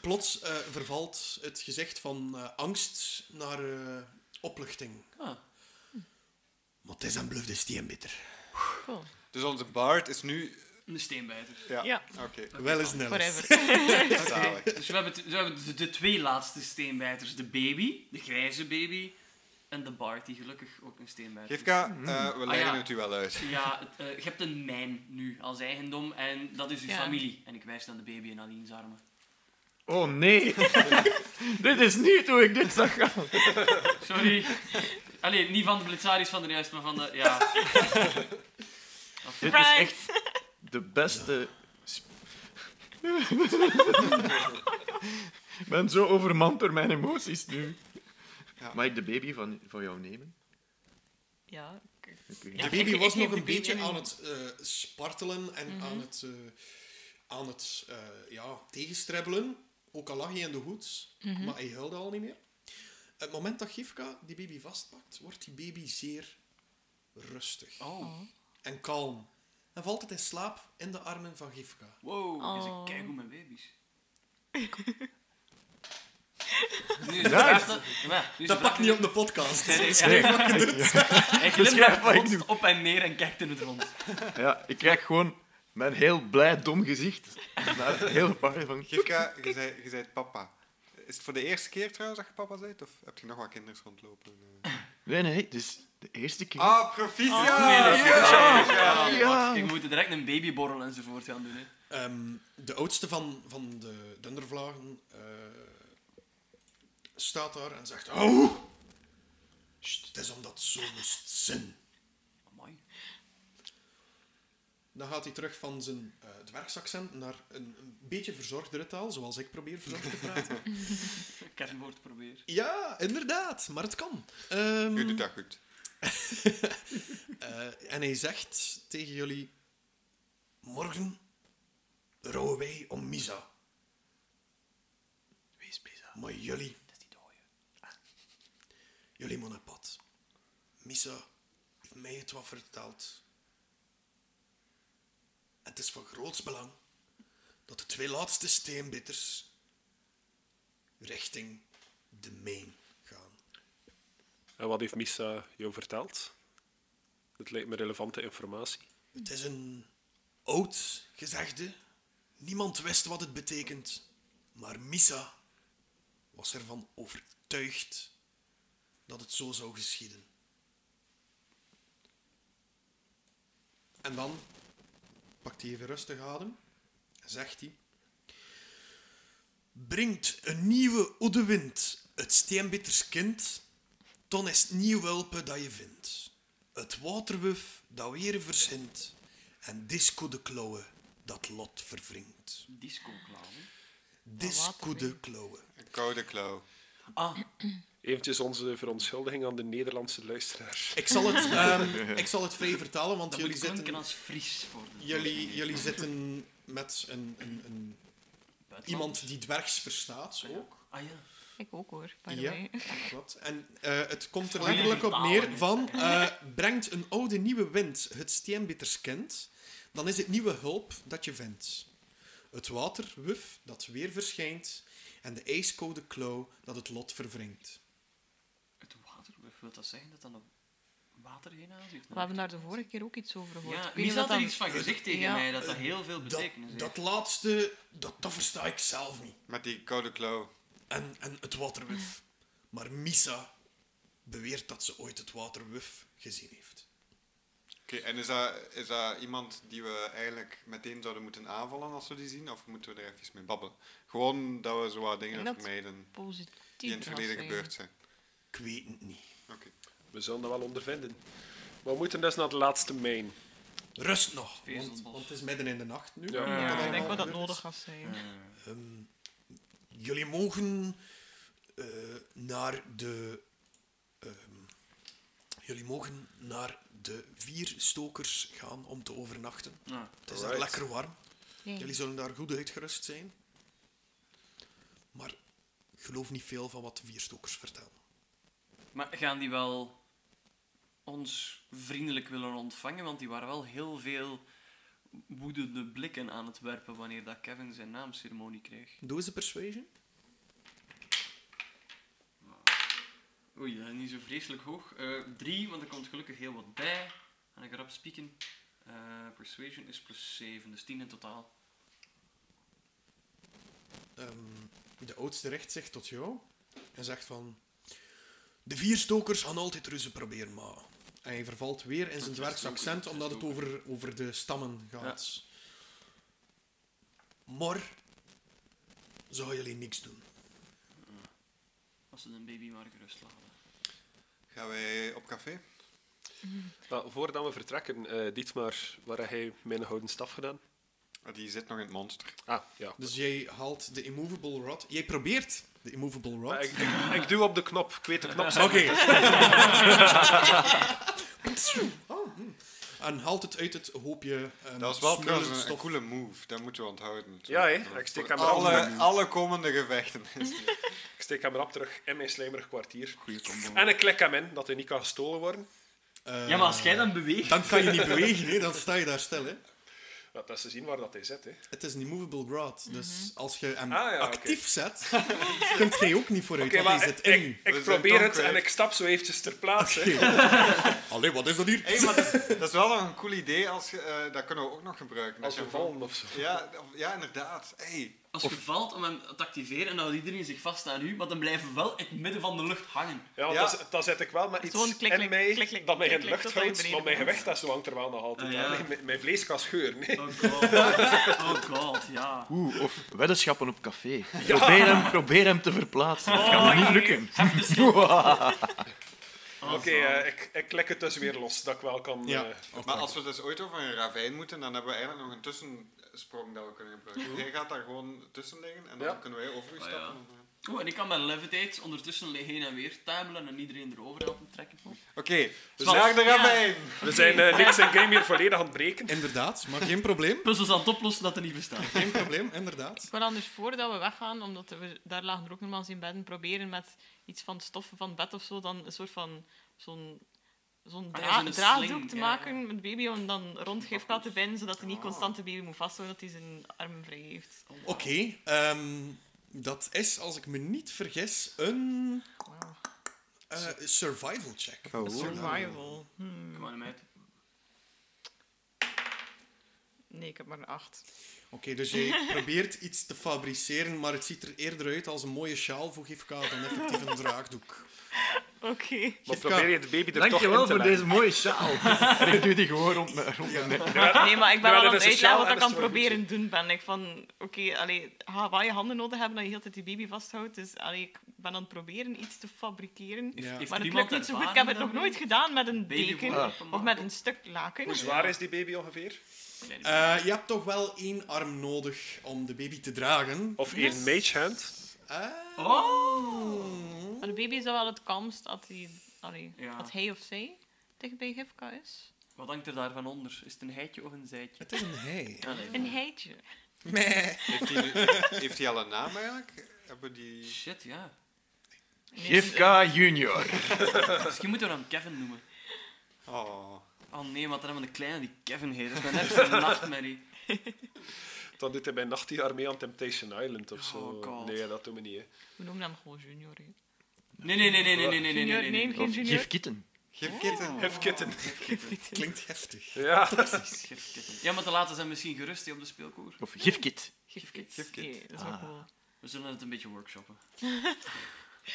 Speaker 3: plots eh, vervalt het gezicht van eh, angst naar eh, opluchting.
Speaker 2: Ah.
Speaker 3: Maar het is een bluff, dus die een bitter.
Speaker 6: Cool.
Speaker 5: Dus onze Bard is nu...
Speaker 2: Een steenbijter.
Speaker 5: Ja,
Speaker 6: Ja.
Speaker 5: oké.
Speaker 3: Wel eens nul.
Speaker 6: Forever.
Speaker 5: Zalig.
Speaker 2: Dus we hebben, t- we hebben de, de twee laatste steenbijters. De baby, de grijze baby. En de Bart, die gelukkig ook een steenbijter is.
Speaker 5: Gifka, eh, we leggen
Speaker 2: Ah, ja.
Speaker 5: het u wel uit.
Speaker 2: Ja, het, eh, je hebt een mijn nu als eigendom en dat is uw
Speaker 6: Ja.
Speaker 2: familie. En ik wijs dan de baby in Aline's armen.
Speaker 4: Oh nee! [LAUGHS] dit is niet hoe ik dit zag gaan!
Speaker 2: Sorry. Allee, niet van de blitzaris van de juist, maar van de... Ja.
Speaker 4: Dit is
Speaker 6: Right.
Speaker 4: echt de beste. sp- Ik ben zo overmand door mijn emoties nu.
Speaker 5: Ja.
Speaker 4: Mag ik de baby van, van jou nemen?
Speaker 6: Ja. ik-
Speaker 3: De
Speaker 6: Ja,
Speaker 3: baby
Speaker 6: ik-
Speaker 3: was nog een
Speaker 6: ik neem de Mhm. baby
Speaker 3: beetje
Speaker 6: in.
Speaker 3: aan het eh, spartelen en aan het, eh, aan het eh, ja, tegenstribbelen. Ook al lag hij in de hoed,
Speaker 6: Mhm.
Speaker 3: maar hij huilde al niet meer. Het moment dat Gifka die baby vastpakt, wordt die baby zeer rustig
Speaker 2: Oh.
Speaker 3: en kalm. En valt het in slaap in de armen van Gifka.
Speaker 2: Wow,
Speaker 6: Oh.
Speaker 2: is een keigoed met baby's. Nu is de vraag dat... Ja, nu is
Speaker 3: Dat
Speaker 2: de vraag
Speaker 3: pak niet op de podcast.
Speaker 2: Nee, nee, Hij
Speaker 4: Beschrijf
Speaker 2: glimlacht
Speaker 4: wat ik
Speaker 2: constant op en neer en kijkt in het rond.
Speaker 4: Ja, ik kijk gewoon Mijn heel blij, dom gezicht. Naar het heel paar van...
Speaker 5: Gifka, je zei, je zei het papa. Is het voor de eerste keer trouwens dat je papa bent? Of heb je nog wat kinderen rondlopen? Eh.
Speaker 4: Nee, nee, dit is de eerste keer.
Speaker 5: Ah, proficiat!
Speaker 2: nee, dat is
Speaker 5: Ja,
Speaker 2: waar.
Speaker 5: ja.
Speaker 4: Ja.
Speaker 2: Ik moet direct een babyborrel enzovoort gaan doen. Hè.
Speaker 3: Ehm, de oudste van, van de dundervlagen eh, staat daar en zegt... Au! Sst, Het is omdat het zo moest zijn.
Speaker 2: Amai.
Speaker 3: Dan gaat hij terug van zijn eh dwergsaccent naar een, een beetje verzorgdere taal, zoals ik probeer verzorgd te praten.
Speaker 2: Kernwoord proberen.
Speaker 3: ja, inderdaad, maar het kan. Ehm,
Speaker 5: Je doet dat goed.
Speaker 3: Eh, en hij zegt tegen jullie: Morgen rouwen wij om Misa,
Speaker 4: Wees bezig.
Speaker 3: maar jullie,
Speaker 2: Dat
Speaker 3: Ah.
Speaker 2: is die dode.
Speaker 3: jullie moeten op pad. Misa heeft mij het wat verteld. En het is van groots belang dat de twee laatste steenbitters richting de main gaan.
Speaker 1: En wat heeft Missa jou verteld? Dat lijkt me relevante informatie.
Speaker 3: Het is een oud gezegde. Niemand wist wat het betekent. Maar Missa was ervan overtuigd dat het zo zou geschieden. En dan pakt hij even rustig adem en zegt hij... Brengt een nieuwe oude wind, het steenbitters kind, dan is het nieuw welpen dat je vindt. Het waterwuf dat weer verzint. En disco de klauwen dat lot verwringt.
Speaker 2: Disco klauwen.
Speaker 3: Disco de klauwen.
Speaker 5: Een koude klauw.
Speaker 2: Ah,
Speaker 1: Eventjes onze verontschuldiging aan de Nederlandse luisteraars.
Speaker 3: Ik zal het, ehm, ik zal het vrij vertalen, want
Speaker 2: dat
Speaker 3: jullie
Speaker 2: moet klinken
Speaker 3: zitten,
Speaker 2: als Fries voor de
Speaker 3: jullie, jullie zitten met een, een, een,
Speaker 2: buitenland.
Speaker 3: iemand die dwergs verstaat ook.
Speaker 2: Ah ja.
Speaker 6: Ik ook hoor, by the
Speaker 3: Ja.
Speaker 6: way.
Speaker 3: Klopt. En eh, het komt er
Speaker 2: Voor jullie
Speaker 3: letterlijk
Speaker 2: vertalen,
Speaker 3: op neer
Speaker 2: hè. [LAUGHS]
Speaker 3: van... eh, brengt een oude nieuwe wind het steenbitters kent, dan is het nieuwe hulp dat je vindt. Het waterwuf dat weer verschijnt en de ijskoude klauw dat het lot verwringt.
Speaker 2: Het water, wil dat zeggen dat dan op water heen aanziet?
Speaker 6: We hebben daar de vorige keer ook iets over gehoord.
Speaker 2: Ja,
Speaker 6: Ik
Speaker 2: Mies
Speaker 6: weet niet
Speaker 2: had
Speaker 6: wat
Speaker 2: er
Speaker 6: dan-
Speaker 2: iets van gezegd tegen
Speaker 6: Ja.
Speaker 2: mij, dat dat dus heel veel
Speaker 3: Dat,
Speaker 2: betekenis heeft.
Speaker 3: dat laatste, dat, dat versta ik zelf niet.
Speaker 5: Met die koude klauw.
Speaker 3: En, en het waterwuf. Maar Misa beweert dat ze ooit het waterwuf gezien heeft.
Speaker 5: Oké, en is dat, is dat iemand die we eigenlijk meteen zouden moeten aanvallen als we die zien? Of moeten we er even mee babbelen? Gewoon dat we zo wat dingen
Speaker 6: En dat-
Speaker 5: vermijden
Speaker 6: Positief.
Speaker 5: die in het verleden
Speaker 6: was, eh.
Speaker 5: gebeurd zijn.
Speaker 3: Ik weet het niet.
Speaker 5: Oké.
Speaker 1: We zullen dat wel ondervinden. Maar we moeten dus naar de laatste main.
Speaker 3: Rust nog, want,
Speaker 2: Vezelbos.
Speaker 3: want het is midden in de nacht nu.
Speaker 1: Ja.
Speaker 6: Ja,
Speaker 3: Dat
Speaker 6: ik denk
Speaker 3: allemaal
Speaker 6: wel dat
Speaker 3: gebeurd
Speaker 6: nodig
Speaker 3: is.
Speaker 6: gaat zijn.
Speaker 3: Ehm, jullie mogen eh, naar de. ehm, jullie mogen naar de vier stokers gaan om te overnachten.
Speaker 2: Ja.
Speaker 3: Het is daar
Speaker 1: Alright.
Speaker 3: lekker warm.
Speaker 6: Nee.
Speaker 3: Jullie zullen daar goed uitgerust zijn. Maar ik geloof niet veel van wat de vier stokers vertellen.
Speaker 2: Maar gaan die wel ons vriendelijk willen ontvangen? Want die waren wel heel veel woedende blikken aan het werpen wanneer dat Kevin zijn naamceremonie kreeg.
Speaker 3: Doe eens de persuasion.
Speaker 2: Oei, dat is niet zo vreselijk hoog. Eh, drie, want er komt gelukkig heel wat bij. En ik rap spieken. Eh, persuasion is plus 7, dus 10 in totaal.
Speaker 3: Ehm, de oudste recht zich tot jou en zegt van... De vier stokers gaan altijd ruzie proberen, maar... En hij vervalt weer in zijn
Speaker 2: is
Speaker 3: dwergs
Speaker 2: stoker,
Speaker 3: accent,
Speaker 2: dat is
Speaker 3: omdat het over, over de stammen gaat. Maar... Zou jullie niks doen.
Speaker 2: Als ze de baby maar gerust laten.
Speaker 5: Gaan wij op café?
Speaker 1: Maar Nou, voordat we vertrekken, eh Dietmar, waar heb jij mijn houden staf gedaan?
Speaker 5: Ah, Die zit nog in het monster.
Speaker 1: Ah, ja.
Speaker 3: Dus jij haalt de immovable rod... Jij probeert de immovable rod...
Speaker 1: Maar ik, ik, ik duw op de knop. Ik weet de [LAUGHS] knop.
Speaker 3: Oké. [LAUGHS] Oh, hm. en haalt het uit het hoopje... ehm,
Speaker 5: Dat was wel
Speaker 3: smeulend
Speaker 5: trouwens een, een
Speaker 3: stof.
Speaker 5: coole move, dat moeten we onthouden.
Speaker 1: Ja, hè?
Speaker 5: Voor
Speaker 1: Ik steek hem erop.
Speaker 5: alle, alle komende gevechten. [LAUGHS]
Speaker 1: Ik steek hem rap terug in mijn slijmerig kwartier.
Speaker 4: Goeie combo.
Speaker 1: En ik klik hem in, dat hij niet kan gestolen worden.
Speaker 3: Eh,
Speaker 2: Ja, maar als jij dan beweegt...
Speaker 3: Dan kan je niet bewegen, hè. dan sta je daar stil. Hè.
Speaker 1: Oké, Ja, dat is te zien waar dat hij zit. Hè.
Speaker 3: Het is een movable rod, dus als je hem
Speaker 1: Ah, ja, oké.
Speaker 3: actief
Speaker 1: [LAUGHS]
Speaker 3: zet, kunt jij ook niet vooruit,
Speaker 1: Oké,
Speaker 3: want
Speaker 1: maar
Speaker 3: hij
Speaker 1: ik,
Speaker 3: zit in
Speaker 1: ik,
Speaker 3: u.
Speaker 1: ik
Speaker 5: zijn
Speaker 1: probeer het
Speaker 5: donkere.
Speaker 1: en ik stap zo eventjes ter plaatse.
Speaker 3: [LAUGHS]
Speaker 1: hè. [LAUGHS]
Speaker 3: Allee, wat is dat hier?
Speaker 5: Hey, maar dat, is- dat is wel een cool idee. Als, je, eh, dat kunnen we ook nog gebruiken.
Speaker 1: Als we
Speaker 5: je-
Speaker 1: vallen of zo.
Speaker 5: Ja, of- ja, inderdaad. Hey,
Speaker 2: Als je valt om hem te activeren, en dan houdt iedereen zich vast aan u, maar dan blijven we wel in het midden van de lucht hangen.
Speaker 1: Ja,
Speaker 5: Ja.
Speaker 1: Dat, is- dat zet ik wel met
Speaker 6: Gewoon
Speaker 1: iets
Speaker 6: klik,
Speaker 1: in
Speaker 6: klik,
Speaker 1: mij
Speaker 6: klik, klik,
Speaker 1: dat mij in
Speaker 6: klik,
Speaker 1: de lucht
Speaker 6: klik, tot hij
Speaker 1: houdt,
Speaker 6: beneden
Speaker 1: maar mijn
Speaker 6: komt.
Speaker 1: gewicht dat zo hangt er wel nog altijd
Speaker 2: Ah, ja.
Speaker 1: aan. Nee, mijn- mijn vlees kan scheuren. hè.
Speaker 2: Oh god. [LAUGHS] Oh god, ja.
Speaker 4: Oeh, of weddenschappen op café. Probeer, hem, probeer hem te verplaatsen. Dat kan niet lukken.
Speaker 2: Oh,
Speaker 1: Oké, eh, ik, ik klik het dus weer los, dat ik wel kan...
Speaker 3: Ja.
Speaker 1: eh,
Speaker 5: maar als we dus ooit over een ravijn moeten, dan hebben we eigenlijk nog een tussensprong dat we kunnen gebruiken. Jij gaat daar gewoon tussen liggen en dan
Speaker 1: Ja.
Speaker 5: kunnen wij over u
Speaker 2: Ah,
Speaker 5: stappen.
Speaker 2: Oeh, en ik kan mijn levitate ondertussen heen en weer tuimelen en iedereen erover helpen trekken.
Speaker 5: Oké, dus
Speaker 2: Zwart.
Speaker 5: naar de
Speaker 2: Ja.
Speaker 5: ravijn!
Speaker 1: we zijn eh, niks en game hier volledig aan het breken.
Speaker 3: Inderdaad, maar geen probleem.
Speaker 2: Puzzels aan het oplossen dat er niet bestaan.
Speaker 3: Geen probleem, inderdaad.
Speaker 6: Ik wil anders voordat we weggaan, omdat we, daar lagen er ook nogmaals in bedden, proberen met iets van stoffen van het bed of zo, dan een soort van zo'n zo'n
Speaker 2: Ah,
Speaker 6: dra-
Speaker 2: ja, zo'n
Speaker 6: draagdoek
Speaker 2: sling,
Speaker 6: te
Speaker 2: ja, Ah.
Speaker 6: maken met baby om dan rondgeeft laten binden, zodat hij niet constant de baby moet vasthouden, dat hij zijn armen vrij heeft.
Speaker 3: Oké, ehm, dat is, als ik me niet vergis, een
Speaker 6: Wow.
Speaker 3: eh, survival check.
Speaker 1: Oh.
Speaker 6: Survival. Hmm.
Speaker 2: Kom maar, meid.
Speaker 6: Nee, ik heb maar een acht.
Speaker 3: Oké, dus je probeert iets te fabriceren, maar het ziet er eerder uit als een mooie sjaal voor Gifka dan effectief een draagdoek.
Speaker 6: Oké.
Speaker 1: Maar
Speaker 3: Gifka.
Speaker 1: probeer je het baby er toch in te
Speaker 4: Dankjewel voor
Speaker 1: leggen.
Speaker 4: deze mooie sjaal. Ik doe die gewoon rond mijn, rond mijn nek.
Speaker 6: Nee, maar ik
Speaker 1: Ja,
Speaker 6: ben wel
Speaker 1: dat
Speaker 6: aan het
Speaker 1: is sociaal
Speaker 6: uitleggen
Speaker 1: en dat
Speaker 6: wat ik aan
Speaker 1: is wel
Speaker 6: het proberen doen ben. Ik van, oké, allee, ga waar je handen nodig hebben dat je heel de tijd die baby vasthoudt. Dus allee, ik ben aan het proberen iets te fabriceren.
Speaker 3: Ja.
Speaker 2: Heeft
Speaker 6: Maar het
Speaker 2: iemand
Speaker 6: lukt niet zo goed.
Speaker 2: ervaring
Speaker 6: Ik heb het nog
Speaker 2: daarmee?
Speaker 6: nooit gedaan met een
Speaker 2: Baby
Speaker 6: deken
Speaker 2: worden
Speaker 6: of
Speaker 2: gemaakt.
Speaker 6: met een stuk laken.
Speaker 1: Hoe zwaar is die baby ongeveer?
Speaker 3: Eh, je hebt toch wel één arm nodig om de baby te dragen.
Speaker 1: Of één mage hand?
Speaker 3: Eh,
Speaker 2: Oh!
Speaker 6: Maar de baby is dan wel het kalmst dat hij, allee,
Speaker 2: Ja.
Speaker 6: dat hij of zij dichtbij Gifka is.
Speaker 2: Wat hangt er daarvan onder? Is het een heitje of een zijtje?
Speaker 3: het is een hij.
Speaker 2: Ah, nee.
Speaker 6: Een heitje.
Speaker 3: Meh.
Speaker 5: Heeft hij, nu- heeft hij al een naam eigenlijk? Hebben die...
Speaker 2: Shit, ja.
Speaker 4: Gifka Junior.
Speaker 2: Misschien moeten we hem Kevin noemen.
Speaker 5: Oh.
Speaker 2: Oh nee, want dan hebben we een kleine die Kevin heet. Dat is mijn ergste [LAUGHS] nachtmerrie.
Speaker 1: Dat doet hij bij Nachtjaar mee aan Temptation Island of zo.
Speaker 2: Oh, God.
Speaker 1: nee, dat doen we niet. Hè.
Speaker 6: We noemen hem gewoon junior. hè.
Speaker 2: Nee, nee, nee, nee, nee, nee, nee, nee,
Speaker 6: Junior,
Speaker 2: nee, nee.
Speaker 6: geen
Speaker 4: Of
Speaker 6: junior.
Speaker 4: Gif Kitten.
Speaker 5: Gif kitten.
Speaker 1: Hef kitten.
Speaker 3: Klinkt heftig.
Speaker 1: Ja.
Speaker 2: Gifkitten. Ja, maar te laten zijn misschien gerust hè, op de speelkoer.
Speaker 4: Of Gifkit.
Speaker 6: Gifkit.
Speaker 5: Gifkit.
Speaker 6: Nee, dat is
Speaker 2: Ah.
Speaker 6: ook wel...
Speaker 2: We zullen het een beetje workshoppen.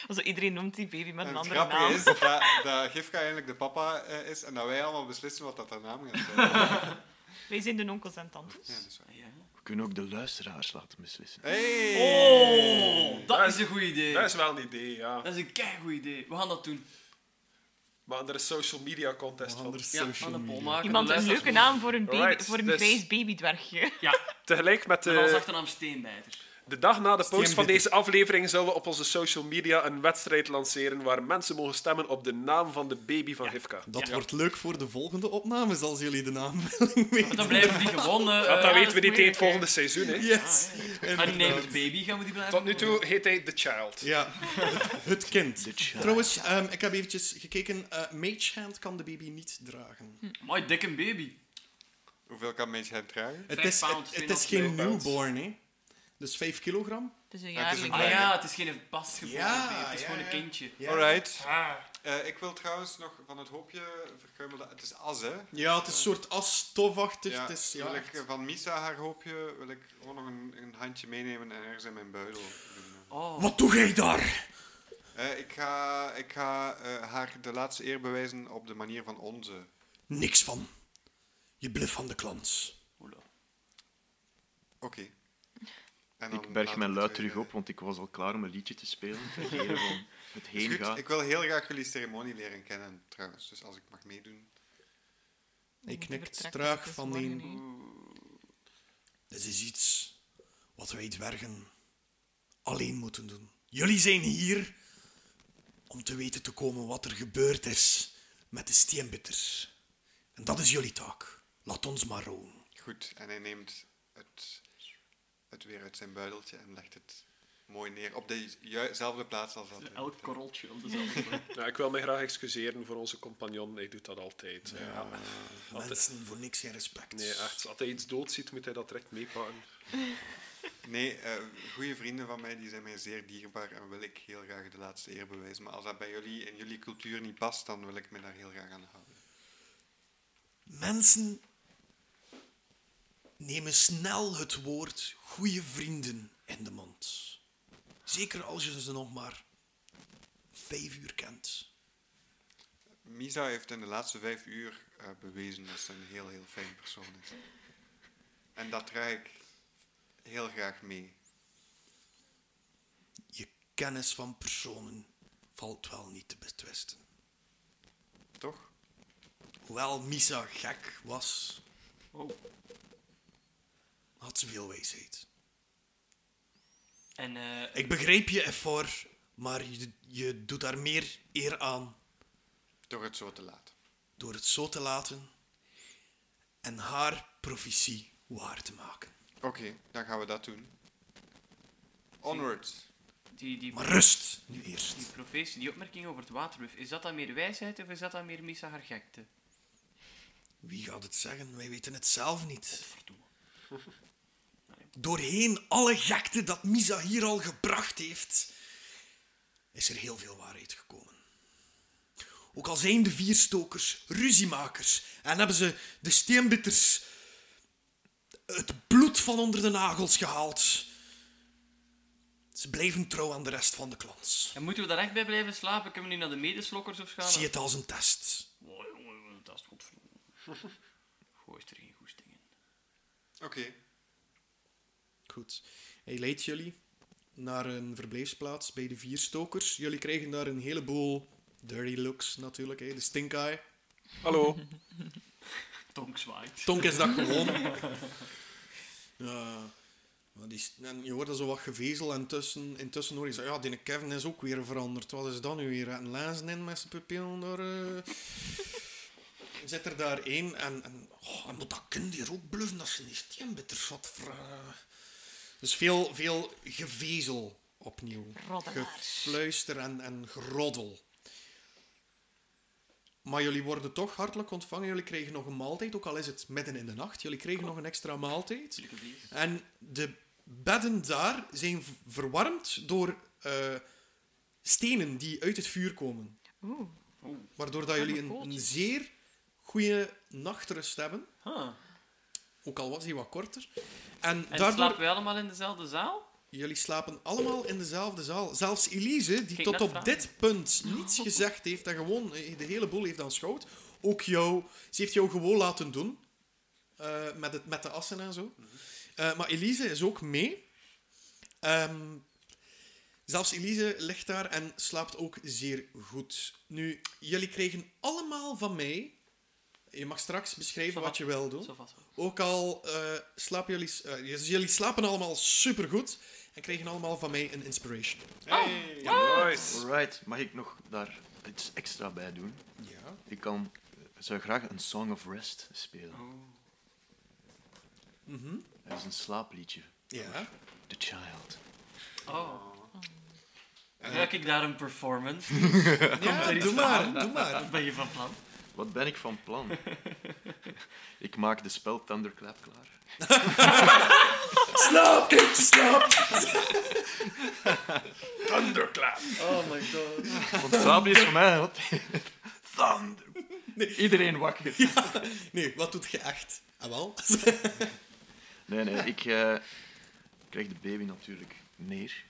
Speaker 6: Also, iedereen noemt die baby met
Speaker 5: En het
Speaker 6: een andere
Speaker 5: grappige
Speaker 6: naam.
Speaker 5: is dat, dat Gifka eigenlijk de papa eh, is en dat wij allemaal beslissen wat dat haar naam gaat
Speaker 6: [LAUGHS]
Speaker 5: zijn. Ja,
Speaker 6: Wij zijn de onkels en tantes.
Speaker 5: dat is waar.
Speaker 2: Ja.
Speaker 4: We kunnen ook de luisteraars laten beslissen.
Speaker 5: Hey!
Speaker 2: Oh, dat is een goed
Speaker 1: [LAUGHS]
Speaker 2: idee.
Speaker 1: Dat is wel een idee, ja.
Speaker 2: Dat is een keigoed idee. We gaan dat doen.
Speaker 1: Maar er is social media contest van.
Speaker 3: Anders
Speaker 2: Ja, aan
Speaker 3: social
Speaker 2: de bol
Speaker 3: media.
Speaker 2: maken.
Speaker 6: Iemand
Speaker 2: de
Speaker 6: een
Speaker 2: luisteraars
Speaker 6: leuke naam voor een, baby,
Speaker 1: Alright,
Speaker 6: voor een
Speaker 1: dus-
Speaker 6: grijs [LAUGHS] babydwergje.
Speaker 1: Tegelijk met
Speaker 2: moeten- En als
Speaker 1: de,
Speaker 2: achternaam Steenbijter.
Speaker 1: de dag na de post van
Speaker 3: Steenbitter.
Speaker 1: deze aflevering zullen we op onze social media een wedstrijd lanceren waar mensen mogen stemmen op de naam van de baby van Gifka.
Speaker 3: Dat wordt leuk voor de volgende opnames als jullie de naam willen [LAUGHS]
Speaker 2: Want
Speaker 3: weten.
Speaker 2: dan blijven die gewoon... eh,
Speaker 1: Want dan weten
Speaker 2: eh,
Speaker 1: we niet
Speaker 6: moeilijk,
Speaker 1: tegen het
Speaker 6: hè.
Speaker 1: volgende seizoen. Hè.
Speaker 3: Yes.
Speaker 2: En neem
Speaker 3: Inderdaad.
Speaker 2: het baby, gaan we die blijven
Speaker 1: Tot nu toe heet hij The Child.
Speaker 3: Ja, het, het kind.
Speaker 4: De child.
Speaker 3: Trouwens, ehm, ik heb eventjes gekeken. eh Mage Hand kan de baby niet dragen.
Speaker 2: Mooi, dikke baby.
Speaker 5: Hoeveel kan mensen hem dragen?
Speaker 3: Het
Speaker 2: Vijf
Speaker 3: is,
Speaker 2: pound,
Speaker 3: het, het is
Speaker 2: tweeënhalf
Speaker 3: geen
Speaker 1: pounds.
Speaker 3: newborn, hè. Dus 5 kilogram.
Speaker 6: Het is een
Speaker 5: Ja, het is een
Speaker 6: jaarlijks.
Speaker 2: Ah ja, het is geen pasgeboren
Speaker 3: Ja,
Speaker 2: baby. Het is
Speaker 3: ja,
Speaker 2: gewoon
Speaker 3: ja.
Speaker 2: een kindje.
Speaker 5: Alright.
Speaker 6: Ah.
Speaker 5: Eh, ik wil trouwens nog van het hoopje verkruimelde... Het is as, hè?
Speaker 3: Ja, het is een soort as, stofachtig.
Speaker 5: Ja,
Speaker 3: het is, ja,
Speaker 5: wil ik
Speaker 3: echt.
Speaker 5: eh, van Misa haar hoopje wil ik gewoon nog een, een handje meenemen en ergens in mijn buidel doen.
Speaker 2: Oh,
Speaker 3: Wat doe jij daar?
Speaker 5: Eh, ik ga, ik ga eh, haar de laatste eer bewijzen op de manier van onze.
Speaker 3: Niks van. Je bluff van de klant.
Speaker 2: hola.
Speaker 5: Oké. En dan
Speaker 4: Ik berg
Speaker 5: laat
Speaker 4: mijn
Speaker 5: het
Speaker 4: luid
Speaker 5: weer,
Speaker 4: terug
Speaker 5: eh,
Speaker 4: op, want ik was al klaar om een liedje te spelen. Ter ere
Speaker 5: [LAUGHS]
Speaker 4: van Het
Speaker 5: is
Speaker 4: heen
Speaker 5: goed.
Speaker 4: gaan.
Speaker 5: Ik wil heel graag jullie ceremonie leren kennen, trouwens. Dus als ik mag meedoen.
Speaker 3: Hij knikt traag
Speaker 6: dus
Speaker 3: van die... Dit is iets wat wij dwergen alleen moeten doen. Jullie zijn hier om te weten te komen wat er gebeurd is met de steenbitters. En dat is jullie taak. Laat ons maar roeien.
Speaker 5: Goed. En hij neemt het, het weer uit zijn buideltje en legt het mooi neer. Op dezelfde plaats als altijd.
Speaker 2: Elk korreltje op dezelfde
Speaker 3: [LAUGHS]
Speaker 2: plek.
Speaker 1: Ja, ik wil me graag excuseren voor onze compagnon. Hij doet dat altijd. Ja. Altijd-
Speaker 3: Mensen, voor niks geen respect.
Speaker 1: Nee, echt. Als hij iets dood ziet, moet hij dat direct meepakken.
Speaker 5: Nee, eh goede vrienden van mij die zijn mij zeer dierbaar en wil ik heel graag de laatste eer bewijzen. Maar als dat bij jullie en jullie cultuur niet past, dan wil ik me daar heel graag aan houden.
Speaker 3: Mensen nemen snel het woord goede vrienden in de mond. Zeker als je ze nog maar vijf uur kent.
Speaker 5: Misa heeft in de laatste vijf uur eh, bewezen dat ze een heel, heel fijn persoon is. En dat draag ik heel graag mee.
Speaker 3: Je kennis van personen valt wel niet te betwisten.
Speaker 5: Toch?
Speaker 3: Hoewel Misa gek was,
Speaker 2: Oh.
Speaker 3: had ze veel wijsheid.
Speaker 2: En eh,
Speaker 3: Ik begreep je ervoor, maar je, je doet daar meer eer aan
Speaker 5: Door het zo te laten.
Speaker 3: door het zo te laten en haar profetie waar te maken.
Speaker 5: Oké, dan gaan we dat doen. Onwards.
Speaker 2: die, die,
Speaker 3: Maar rust nu eerst.
Speaker 2: die profetie, die opmerking over het waterruf, is dat dan meer wijsheid of is dat dan meer Misa haar gekte?
Speaker 3: Wie gaat het zeggen? Wij weten het zelf niet.
Speaker 2: Verdomme.
Speaker 3: [LAUGHS] Doorheen alle gekte dat Misa hier al gebracht heeft, is er heel veel waarheid gekomen. Ook al zijn de vierstokers ruziemakers en hebben ze de steenbitters het bloed van onder de nagels gehaald. Ze blijven trouw aan de rest van de klans.
Speaker 2: En moeten we daar echt bij blijven slapen? Kunnen we nu naar de medeslokkers of gaan?
Speaker 3: Zie het als een test.
Speaker 2: Oh, jongen, jongen, dat is [LAUGHS] godverdomme. Gooi is er geen goesting in.
Speaker 5: Oké.
Speaker 3: Goed. Hij leidt jullie naar een verblijfsplaats bij de vier stokers. Jullie krijgen daar een heleboel dirty looks natuurlijk, hè. de stink eye.
Speaker 1: Hallo.
Speaker 2: Tonk zwaait.
Speaker 3: Tonk is dat gewoon. Ja. Maar die, st- en je hoort er zo wat gevezel en tussen, intussen hoor je zo, ja, die Kevin is ook weer veranderd. Wat is dat nu weer? Een lezen in met zijn pupillen daar... eh. [LAUGHS] Zit er daar één en... en oh, en dat kind hier ook bluffen, dat ze niet steenbitters wat vragen. Dus veel, veel gevezel opnieuw.
Speaker 6: Roddelaars.
Speaker 3: Gefluister en, en geroddel. Maar jullie worden toch hartelijk ontvangen. Jullie kregen nog een maaltijd, ook al is het midden in de nacht. Jullie kregen nog een extra maaltijd. En de bedden daar zijn v- verwarmd door eh, stenen die uit het vuur komen.
Speaker 6: Oeh.
Speaker 3: Waardoor dat jullie
Speaker 6: Ah,
Speaker 3: een,
Speaker 6: mijn
Speaker 3: een zeer goede nachtrust hebben.
Speaker 2: Huh.
Speaker 3: Ook al was die wat korter. En,
Speaker 2: En
Speaker 3: daardoor...
Speaker 2: slapen we allemaal in dezelfde zaal?
Speaker 3: Jullie slapen allemaal in dezelfde zaal. Zelfs Elise, die
Speaker 2: Ging
Speaker 3: tot
Speaker 2: net
Speaker 3: op
Speaker 2: vragen.
Speaker 3: dit punt niets gezegd heeft en gewoon eh, de hele boel heeft aanschouwd. Ook jou, ze heeft jou gewoon laten doen. eh, met, het, met de assen en zo. Eh, maar Elise is ook mee. Ehm, zelfs Elise ligt daar en slaapt ook zeer goed. Nu, jullie kregen allemaal van mij. Je mag straks beschrijven
Speaker 2: Zo
Speaker 3: wat je wil doen.
Speaker 2: Zo vast wel.
Speaker 3: Ook al eh, slapen jullie, eh, dus jullie slapen allemaal supergoed en kregen allemaal van mij een inspiration.
Speaker 5: Hey.
Speaker 1: Nice.
Speaker 4: Alright, mag ik nog daar iets extra bij doen?
Speaker 3: Ja.
Speaker 4: Ik kan, eh, zou graag een Song of Rest spelen. Dat is een slaapliedje.
Speaker 3: Ja.
Speaker 4: The Child.
Speaker 2: Oh. Ruik ik daar een performance? [LAUGHS]
Speaker 3: ja
Speaker 2: er iets
Speaker 3: doe maar, doe maar.
Speaker 2: Wat ben je van plan?
Speaker 4: Wat ben ik van plan? [LAUGHS] ik maak de spel Thunderclap klaar.
Speaker 3: Slaap, kindje, slaap.
Speaker 1: Thunderclap.
Speaker 2: Oh my god.
Speaker 4: Want Sabri is voor mij... Wat? [LAUGHS] Thunder. Iedereen wakker.
Speaker 3: Nee, wat doet je echt? Ah, wel.
Speaker 4: Nee, nee, ik eh, krijg de baby natuurlijk neer.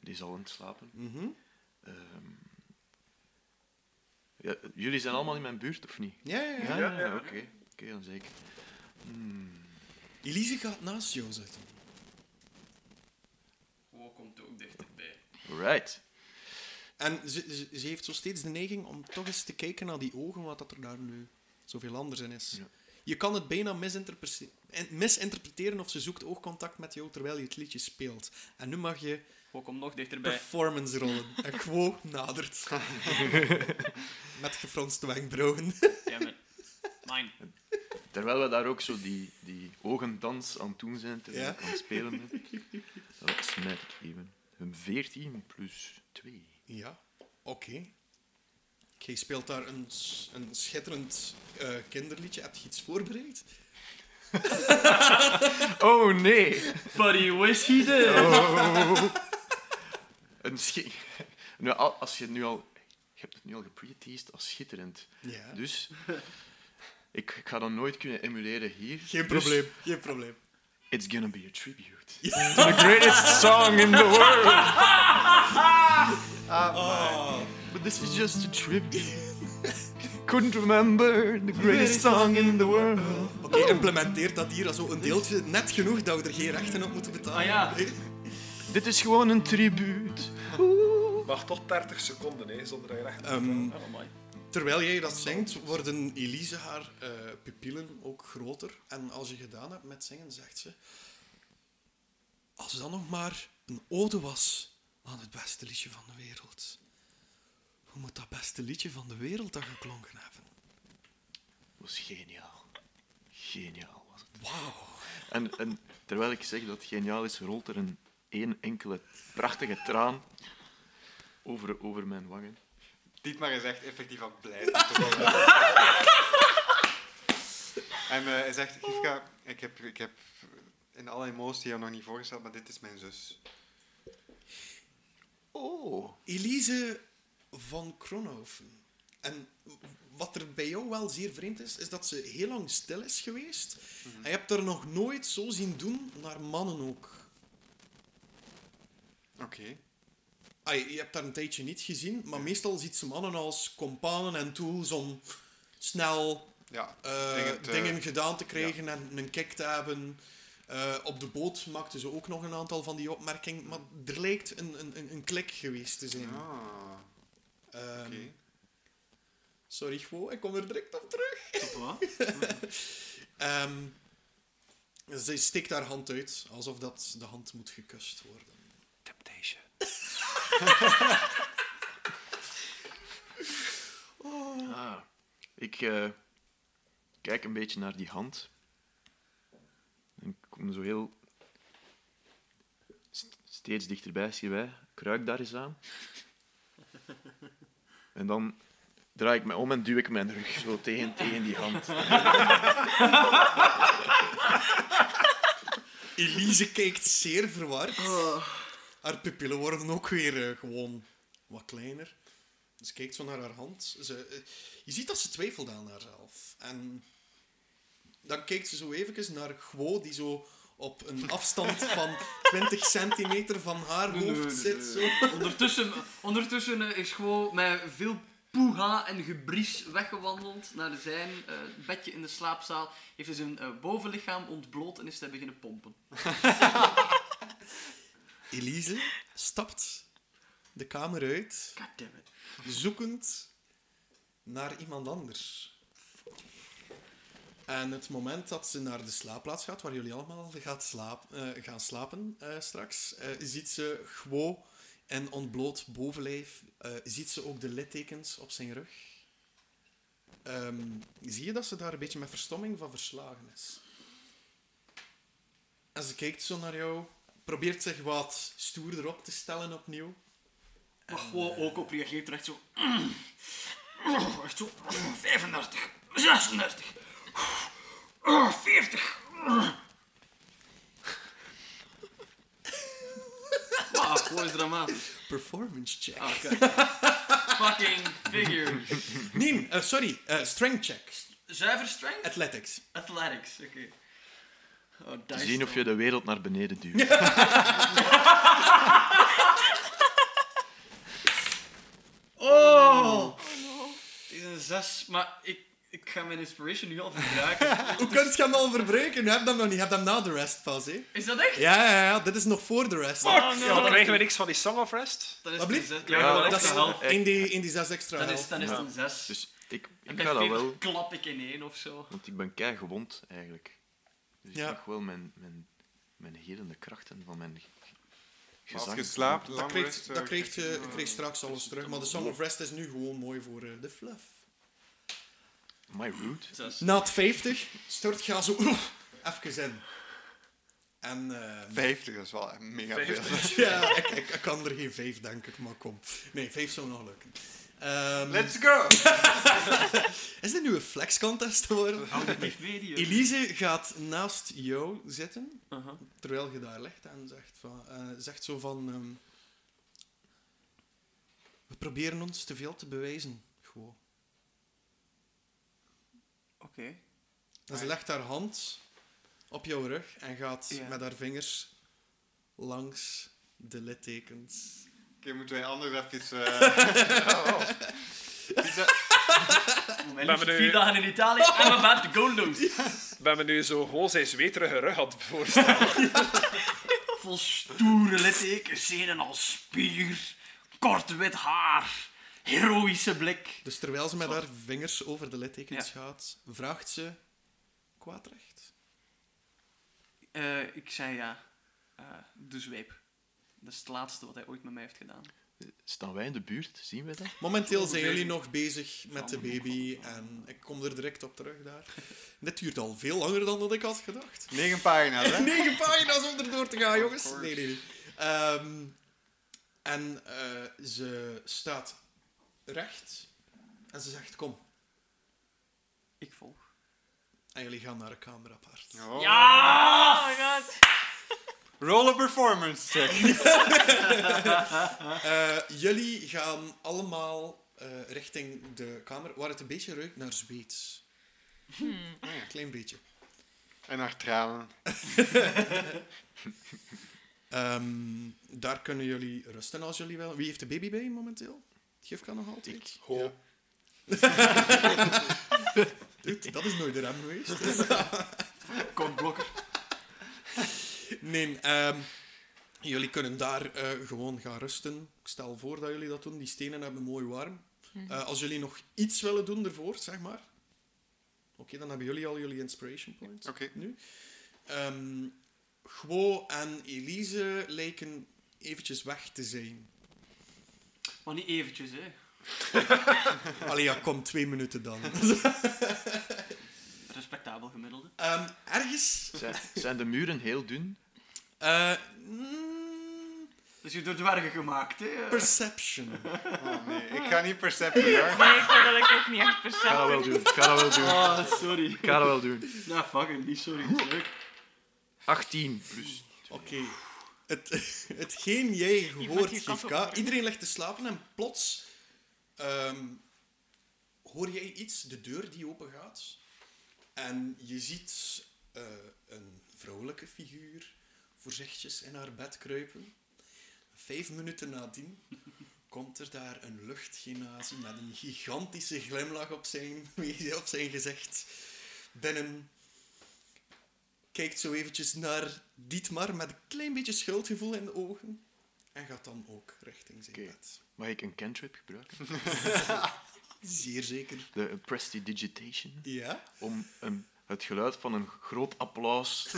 Speaker 4: Die zal aan het slapen. Ehm, ja, jullie zijn allemaal in mijn buurt, of niet?
Speaker 3: Ja, ja, ja.
Speaker 4: Ja, ja,
Speaker 1: ja.
Speaker 4: oké. Oké, dan zeker.
Speaker 3: Elise gaat naast jou zitten.
Speaker 2: Wow, komt ook dichterbij.
Speaker 4: Alright.
Speaker 3: En ze, ze, ze heeft zo steeds de neiging om toch eens te kijken naar die ogen, wat dat er daar nu zoveel anders in is.
Speaker 4: Ja.
Speaker 3: Je kan het bijna misinterpre- en- misinterpreteren of ze zoekt oogcontact met jou terwijl je het liedje speelt. En nu mag je
Speaker 2: Wow, komt nog
Speaker 3: [LAUGHS]
Speaker 2: dichterbij. [LAUGHS]
Speaker 3: performance rollen. En gewoon nadert. [LAUGHS] Met gefronste wenkbrauwen.
Speaker 2: Ja, maar...
Speaker 3: [LAUGHS]
Speaker 2: Mine.
Speaker 4: Terwijl we daar ook zo die, die oogendans aan het doen zijn, terwijl
Speaker 3: Ja.
Speaker 4: ik aan het spelen ben. Dat smijt ik even. Een 14 plus 2.
Speaker 3: Ja, oké. Jij speelt daar een, s- een schitterend eh, kinderliedje. Heb je iets voorbereid?
Speaker 4: Oh nee!
Speaker 2: Buddy, was he there?
Speaker 4: Een schi- [LAUGHS] nu, al- als je het nu al... Je hebt het nu al gepreteased als schitterend.
Speaker 3: Ja.
Speaker 4: Dus... Ik, ik ga dat nooit kunnen emuleren hier.
Speaker 3: Geen
Speaker 4: Dus
Speaker 3: probleem, geen probleem.
Speaker 4: It's gonna be a tribute. To the greatest song in the [LAUGHS] world. Ah, But this is just a tribute. Couldn't remember the greatest song in the world.
Speaker 3: Oké, implementeer dat hier als zo een deeltje. Net genoeg dat we er geen rechten op moeten betalen.
Speaker 2: Ah ja.
Speaker 4: Dit is gewoon een tribuut.
Speaker 1: Mag tot 30 seconden, hè, zonder dat je recht...
Speaker 3: Ehm,
Speaker 2: Oh, mooi.
Speaker 3: Terwijl jij dat zingt, worden Elise haar eh, pupillen ook groter. En als je gedaan hebt met zingen, zegt ze... Als dat nog maar een ode was aan het beste liedje van de wereld. Hoe moet dat beste liedje van de wereld dan geklonken hebben?
Speaker 4: was geniaal. Geniaal was het.
Speaker 3: Wauw.
Speaker 4: En, en terwijl ik zeg dat het geniaal is, rolt er een één enkele prachtige traan over, over mijn wangen.
Speaker 5: Dietmar is echt effectief aan het blijven. te worden. en eh, hij zegt, Gifka, ik heb, ik heb in alle emoties jou nog niet voorgesteld, maar dit is mijn zus.
Speaker 4: Oh.
Speaker 3: Elise van Kronhoven. En wat er bij jou wel zeer vreemd is, is dat ze heel lang stil is geweest. En je hebt haar nog nooit zo zien doen naar mannen ook.
Speaker 5: Oké.
Speaker 3: Ai, je hebt daar een tijdje niet gezien, maar meestal ziet ze mannen als companen en tools om snel
Speaker 5: Ja,
Speaker 3: eh,
Speaker 5: Dringend, eh,
Speaker 3: dingen gedaan te krijgen en een kick te hebben. Eh, op de boot maakten ze ook nog een aantal van die opmerkingen, maar er lijkt een, een, een- een klik geweest te zijn.
Speaker 5: Ah,
Speaker 3: Ehm,
Speaker 5: oké.
Speaker 3: Sorry, Gwo, ik kom er direct op terug. [LAUGHS] Ehm, ze steekt haar hand uit, alsof dat de hand moet gekust worden.
Speaker 1: Temptation.
Speaker 4: Ah, ik eh, kijk een beetje naar die hand. En ik kom zo heel st- steeds dichterbij, zie je bij. Kruik daar eens aan. En dan draai ik me om en duw ik mijn rug zo tegen, tegen die hand.
Speaker 3: Elise kijkt zeer verward.
Speaker 2: Oh.
Speaker 3: Haar pupillen worden ook weer eh, gewoon wat kleiner. Ze kijkt zo naar haar hand. Ze, eh, je ziet dat ze twijfelt aan haarzelf. En dan kijkt ze zo even naar Gwo, die zo op een afstand van
Speaker 2: [LAUGHS]
Speaker 3: 20 centimeter van haar
Speaker 2: Nee, nee,
Speaker 3: hoofd
Speaker 2: nee,
Speaker 3: zit.
Speaker 2: nee.
Speaker 3: Zo.
Speaker 2: Ondertussen, ondertussen eh, is gewoon met veel poeha en gebries weggewandeld naar zijn eh, bedje in de slaapzaal. Heeft hij zijn eh, bovenlichaam ontbloot en is hij beginnen pompen.
Speaker 3: Elise stapt de kamer uit,
Speaker 2: Goddammit.
Speaker 3: zoekend naar iemand anders. En het moment dat ze naar de slaapplaats gaat, waar jullie allemaal gaat slaap, eh, gaan slapen eh, straks, eh, ziet ze gewoon en ontbloot bovenlijf. eh, ziet ze ook de littekens op zijn rug. Ehm, zie je dat ze daar een beetje met verstomming van verslagen is? En ze kijkt zo naar jou, probeert zich wat stoerder op te stellen opnieuw.
Speaker 2: Waar gewoon ook op reageert er echt zo... [CLEARS THROAT] Echt zo... 35, 36, 40. Ah, gewoon is dramatisch.
Speaker 3: Performance check.
Speaker 2: Ah, kijk. Fucking figure.
Speaker 3: Nee, eh, sorry, eh, strength check.
Speaker 2: Zuiver strength?
Speaker 3: Athletics.
Speaker 2: Athletics, oké. Oh,
Speaker 4: Te
Speaker 2: dice.
Speaker 4: zien of je de wereld naar beneden duwt.
Speaker 2: Oh! Het is een 6, maar ik, ik ga mijn inspiration nu al
Speaker 4: [LAUGHS]
Speaker 2: verbruiken.
Speaker 3: [LAUGHS] Hoe kunt je hem al verbruiken? Je hebt hem nog niet. Je hebt hem na de rest pas, hè?
Speaker 2: Is dat echt?
Speaker 3: Ja, ja, ja. Dit is nog voor de rest.
Speaker 2: Oh, no.
Speaker 1: Ja, dan krijgen we niks van die Song of Rest.
Speaker 2: Dan is
Speaker 3: Wat
Speaker 2: het een
Speaker 3: blieft?
Speaker 2: zes. Ja, ja,
Speaker 3: dat is
Speaker 2: een half.
Speaker 3: in die, in die zes extra
Speaker 2: Dan is,
Speaker 3: helft.
Speaker 2: dan is het een 6.
Speaker 4: Dus ik,
Speaker 2: en
Speaker 4: ik
Speaker 2: bij
Speaker 4: ga dat
Speaker 2: 40
Speaker 4: wel,
Speaker 2: klap ik in één of zo.
Speaker 4: want ik ben kei gewond eigenlijk. Dus ik
Speaker 3: Ja.
Speaker 4: mag wel mijn, mijn, mijn herende krachten van mijn ge-
Speaker 5: Maar als
Speaker 4: gezang...
Speaker 5: je slaapt,
Speaker 3: Dat
Speaker 5: lang
Speaker 3: kreeg,
Speaker 5: rust,
Speaker 3: dat
Speaker 5: eh,
Speaker 3: kreeg
Speaker 5: krijg
Speaker 3: je
Speaker 5: een,
Speaker 3: kreeg
Speaker 5: eh,
Speaker 3: straks alles terug. Maar de Song of Rest is nu gewoon mooi voor eh, de fluff.
Speaker 4: My root.
Speaker 2: Zes.
Speaker 3: Na het 50 stort je zo oeh, even in. En, ehm,
Speaker 5: 50, dat is wel mega [LAUGHS]
Speaker 3: [LAUGHS]
Speaker 5: veel.
Speaker 3: ja, ik, ik, ik kan er geen vijf denken, maar kom. Nee, vijf zou nog lukken. Ehm,
Speaker 5: Let's go!
Speaker 3: is dit nu een flex contest
Speaker 2: Oh.
Speaker 3: geworden?
Speaker 2: Auditief medium.
Speaker 3: Elise gaat naast jou zitten,
Speaker 2: Aha.
Speaker 3: terwijl je daar ligt en zegt, van, eh, zegt zo van... ehm, we proberen ons te veel te bewijzen, gewoon.
Speaker 2: Oké. Ah,
Speaker 3: En ze legt haar hand op jouw rug en gaat
Speaker 2: Ja.
Speaker 3: met haar vingers langs de littekens.
Speaker 5: Oké, moeten wij anders even... eh, [LAUGHS] oh, oh. Is dat-
Speaker 2: Mijn
Speaker 1: Maar
Speaker 2: liefst
Speaker 1: meneer-
Speaker 2: vier dagen in
Speaker 4: [LAUGHS]
Speaker 2: Italië. I'm about to go loose.
Speaker 1: Ben me nu zo gewoon zijn zweterige rug had voorstellen.
Speaker 2: Vol stoere littekens, zenen als spier. Kort wit haar. Heroïsche blik.
Speaker 3: Dus terwijl ze met haar vingers over de littekens
Speaker 2: Ja.
Speaker 3: gaat, vraagt ze kwaadrecht.
Speaker 2: Eh, ik zei ja. Eh, de zweep. Dat is het laatste wat hij ooit met mij heeft gedaan.
Speaker 4: Staan wij in de buurt? Zien we dat?
Speaker 3: Momenteel zijn jullie nog bezig met de baby en ik kom er direct op terug daar. Dit duurt al veel langer dan dat ik had gedacht.
Speaker 5: Negen pagina's, hè?
Speaker 3: Negen pagina's om erdoor te gaan, jongens.
Speaker 5: course.
Speaker 3: Nee, nee, nee. Ehm, en eh, ze staat recht en ze zegt kom.
Speaker 2: Ik volg.
Speaker 3: En jullie gaan naar de kamer apart.
Speaker 5: Oh.
Speaker 2: Ja!
Speaker 6: Oh my god.
Speaker 5: Roll a performance check. Ah.
Speaker 3: Eh, jullie gaan allemaal eh, richting de kamer waar het een beetje ruikt naar Zweeds.
Speaker 5: Hmm.
Speaker 3: Klein beetje.
Speaker 5: en haar tranen.
Speaker 3: Ehm, daar kunnen jullie rusten als jullie willen. Wie heeft de baby bij momenteel? Gifka nog altijd?
Speaker 1: Ho.
Speaker 3: [LAUGHS] Dude, dat is nooit de rem geweest.
Speaker 2: Kortblokker.
Speaker 3: Nee, ehm, jullie kunnen daar eh, gewoon gaan rusten. Ik stel voor dat jullie dat doen. Die stenen hebben mooi warm. Eh, als jullie nog iets willen doen ervoor, zeg maar. Oké, dan hebben jullie al jullie inspiration points.
Speaker 5: Oké.
Speaker 3: Nu. Ehm Gwo en Elise lijken eventjes weg te zijn.
Speaker 2: Maar niet eventjes, hè.
Speaker 3: Allee, ja, kom, twee minuten dan.
Speaker 2: Respectabel gemiddelde.
Speaker 3: Ehm, ergens...
Speaker 4: Zijn, zijn de muren heel dun?
Speaker 3: eh, mm,
Speaker 2: Dus je door dwergen gemaakt, hè.
Speaker 3: perception.
Speaker 5: Oh nee, ik ga niet percepten hoor.
Speaker 6: Nee, ik vind dat ik ook niet echt
Speaker 4: Ik ga
Speaker 6: perceptie.
Speaker 4: dat wel doen. Ik ga dat wel doen.
Speaker 2: Ah, sorry.
Speaker 4: Ik ga dat wel doen.
Speaker 2: Nou, fucking niet sorry. dat is Leuk.
Speaker 4: 18 plus.
Speaker 3: Oké. Het, [LAUGHS] hetgeen jij hoort,
Speaker 6: die kat
Speaker 3: Gifka.
Speaker 6: op.
Speaker 3: Iedereen ligt te slapen en plots ehm, hoor jij iets, de deur die open gaat. En je ziet eh, een vrouwelijke figuur voorzichtig in haar bed kruipen. Vijf minuten nadien komt er daar een luchtgenazie met een gigantische glimlach op zijn, [LAUGHS] op zijn gezicht binnen kijkt zo eventjes naar Dietmar met een klein beetje schuldgevoel in de ogen. En gaat dan ook richting zijn
Speaker 4: Oké.
Speaker 3: bed.
Speaker 4: Mag ik een cantrip gebruiken?
Speaker 3: Zeer zeker.
Speaker 4: De prestidigitation.
Speaker 3: Ja?
Speaker 4: Om een, het geluid van een groot applaus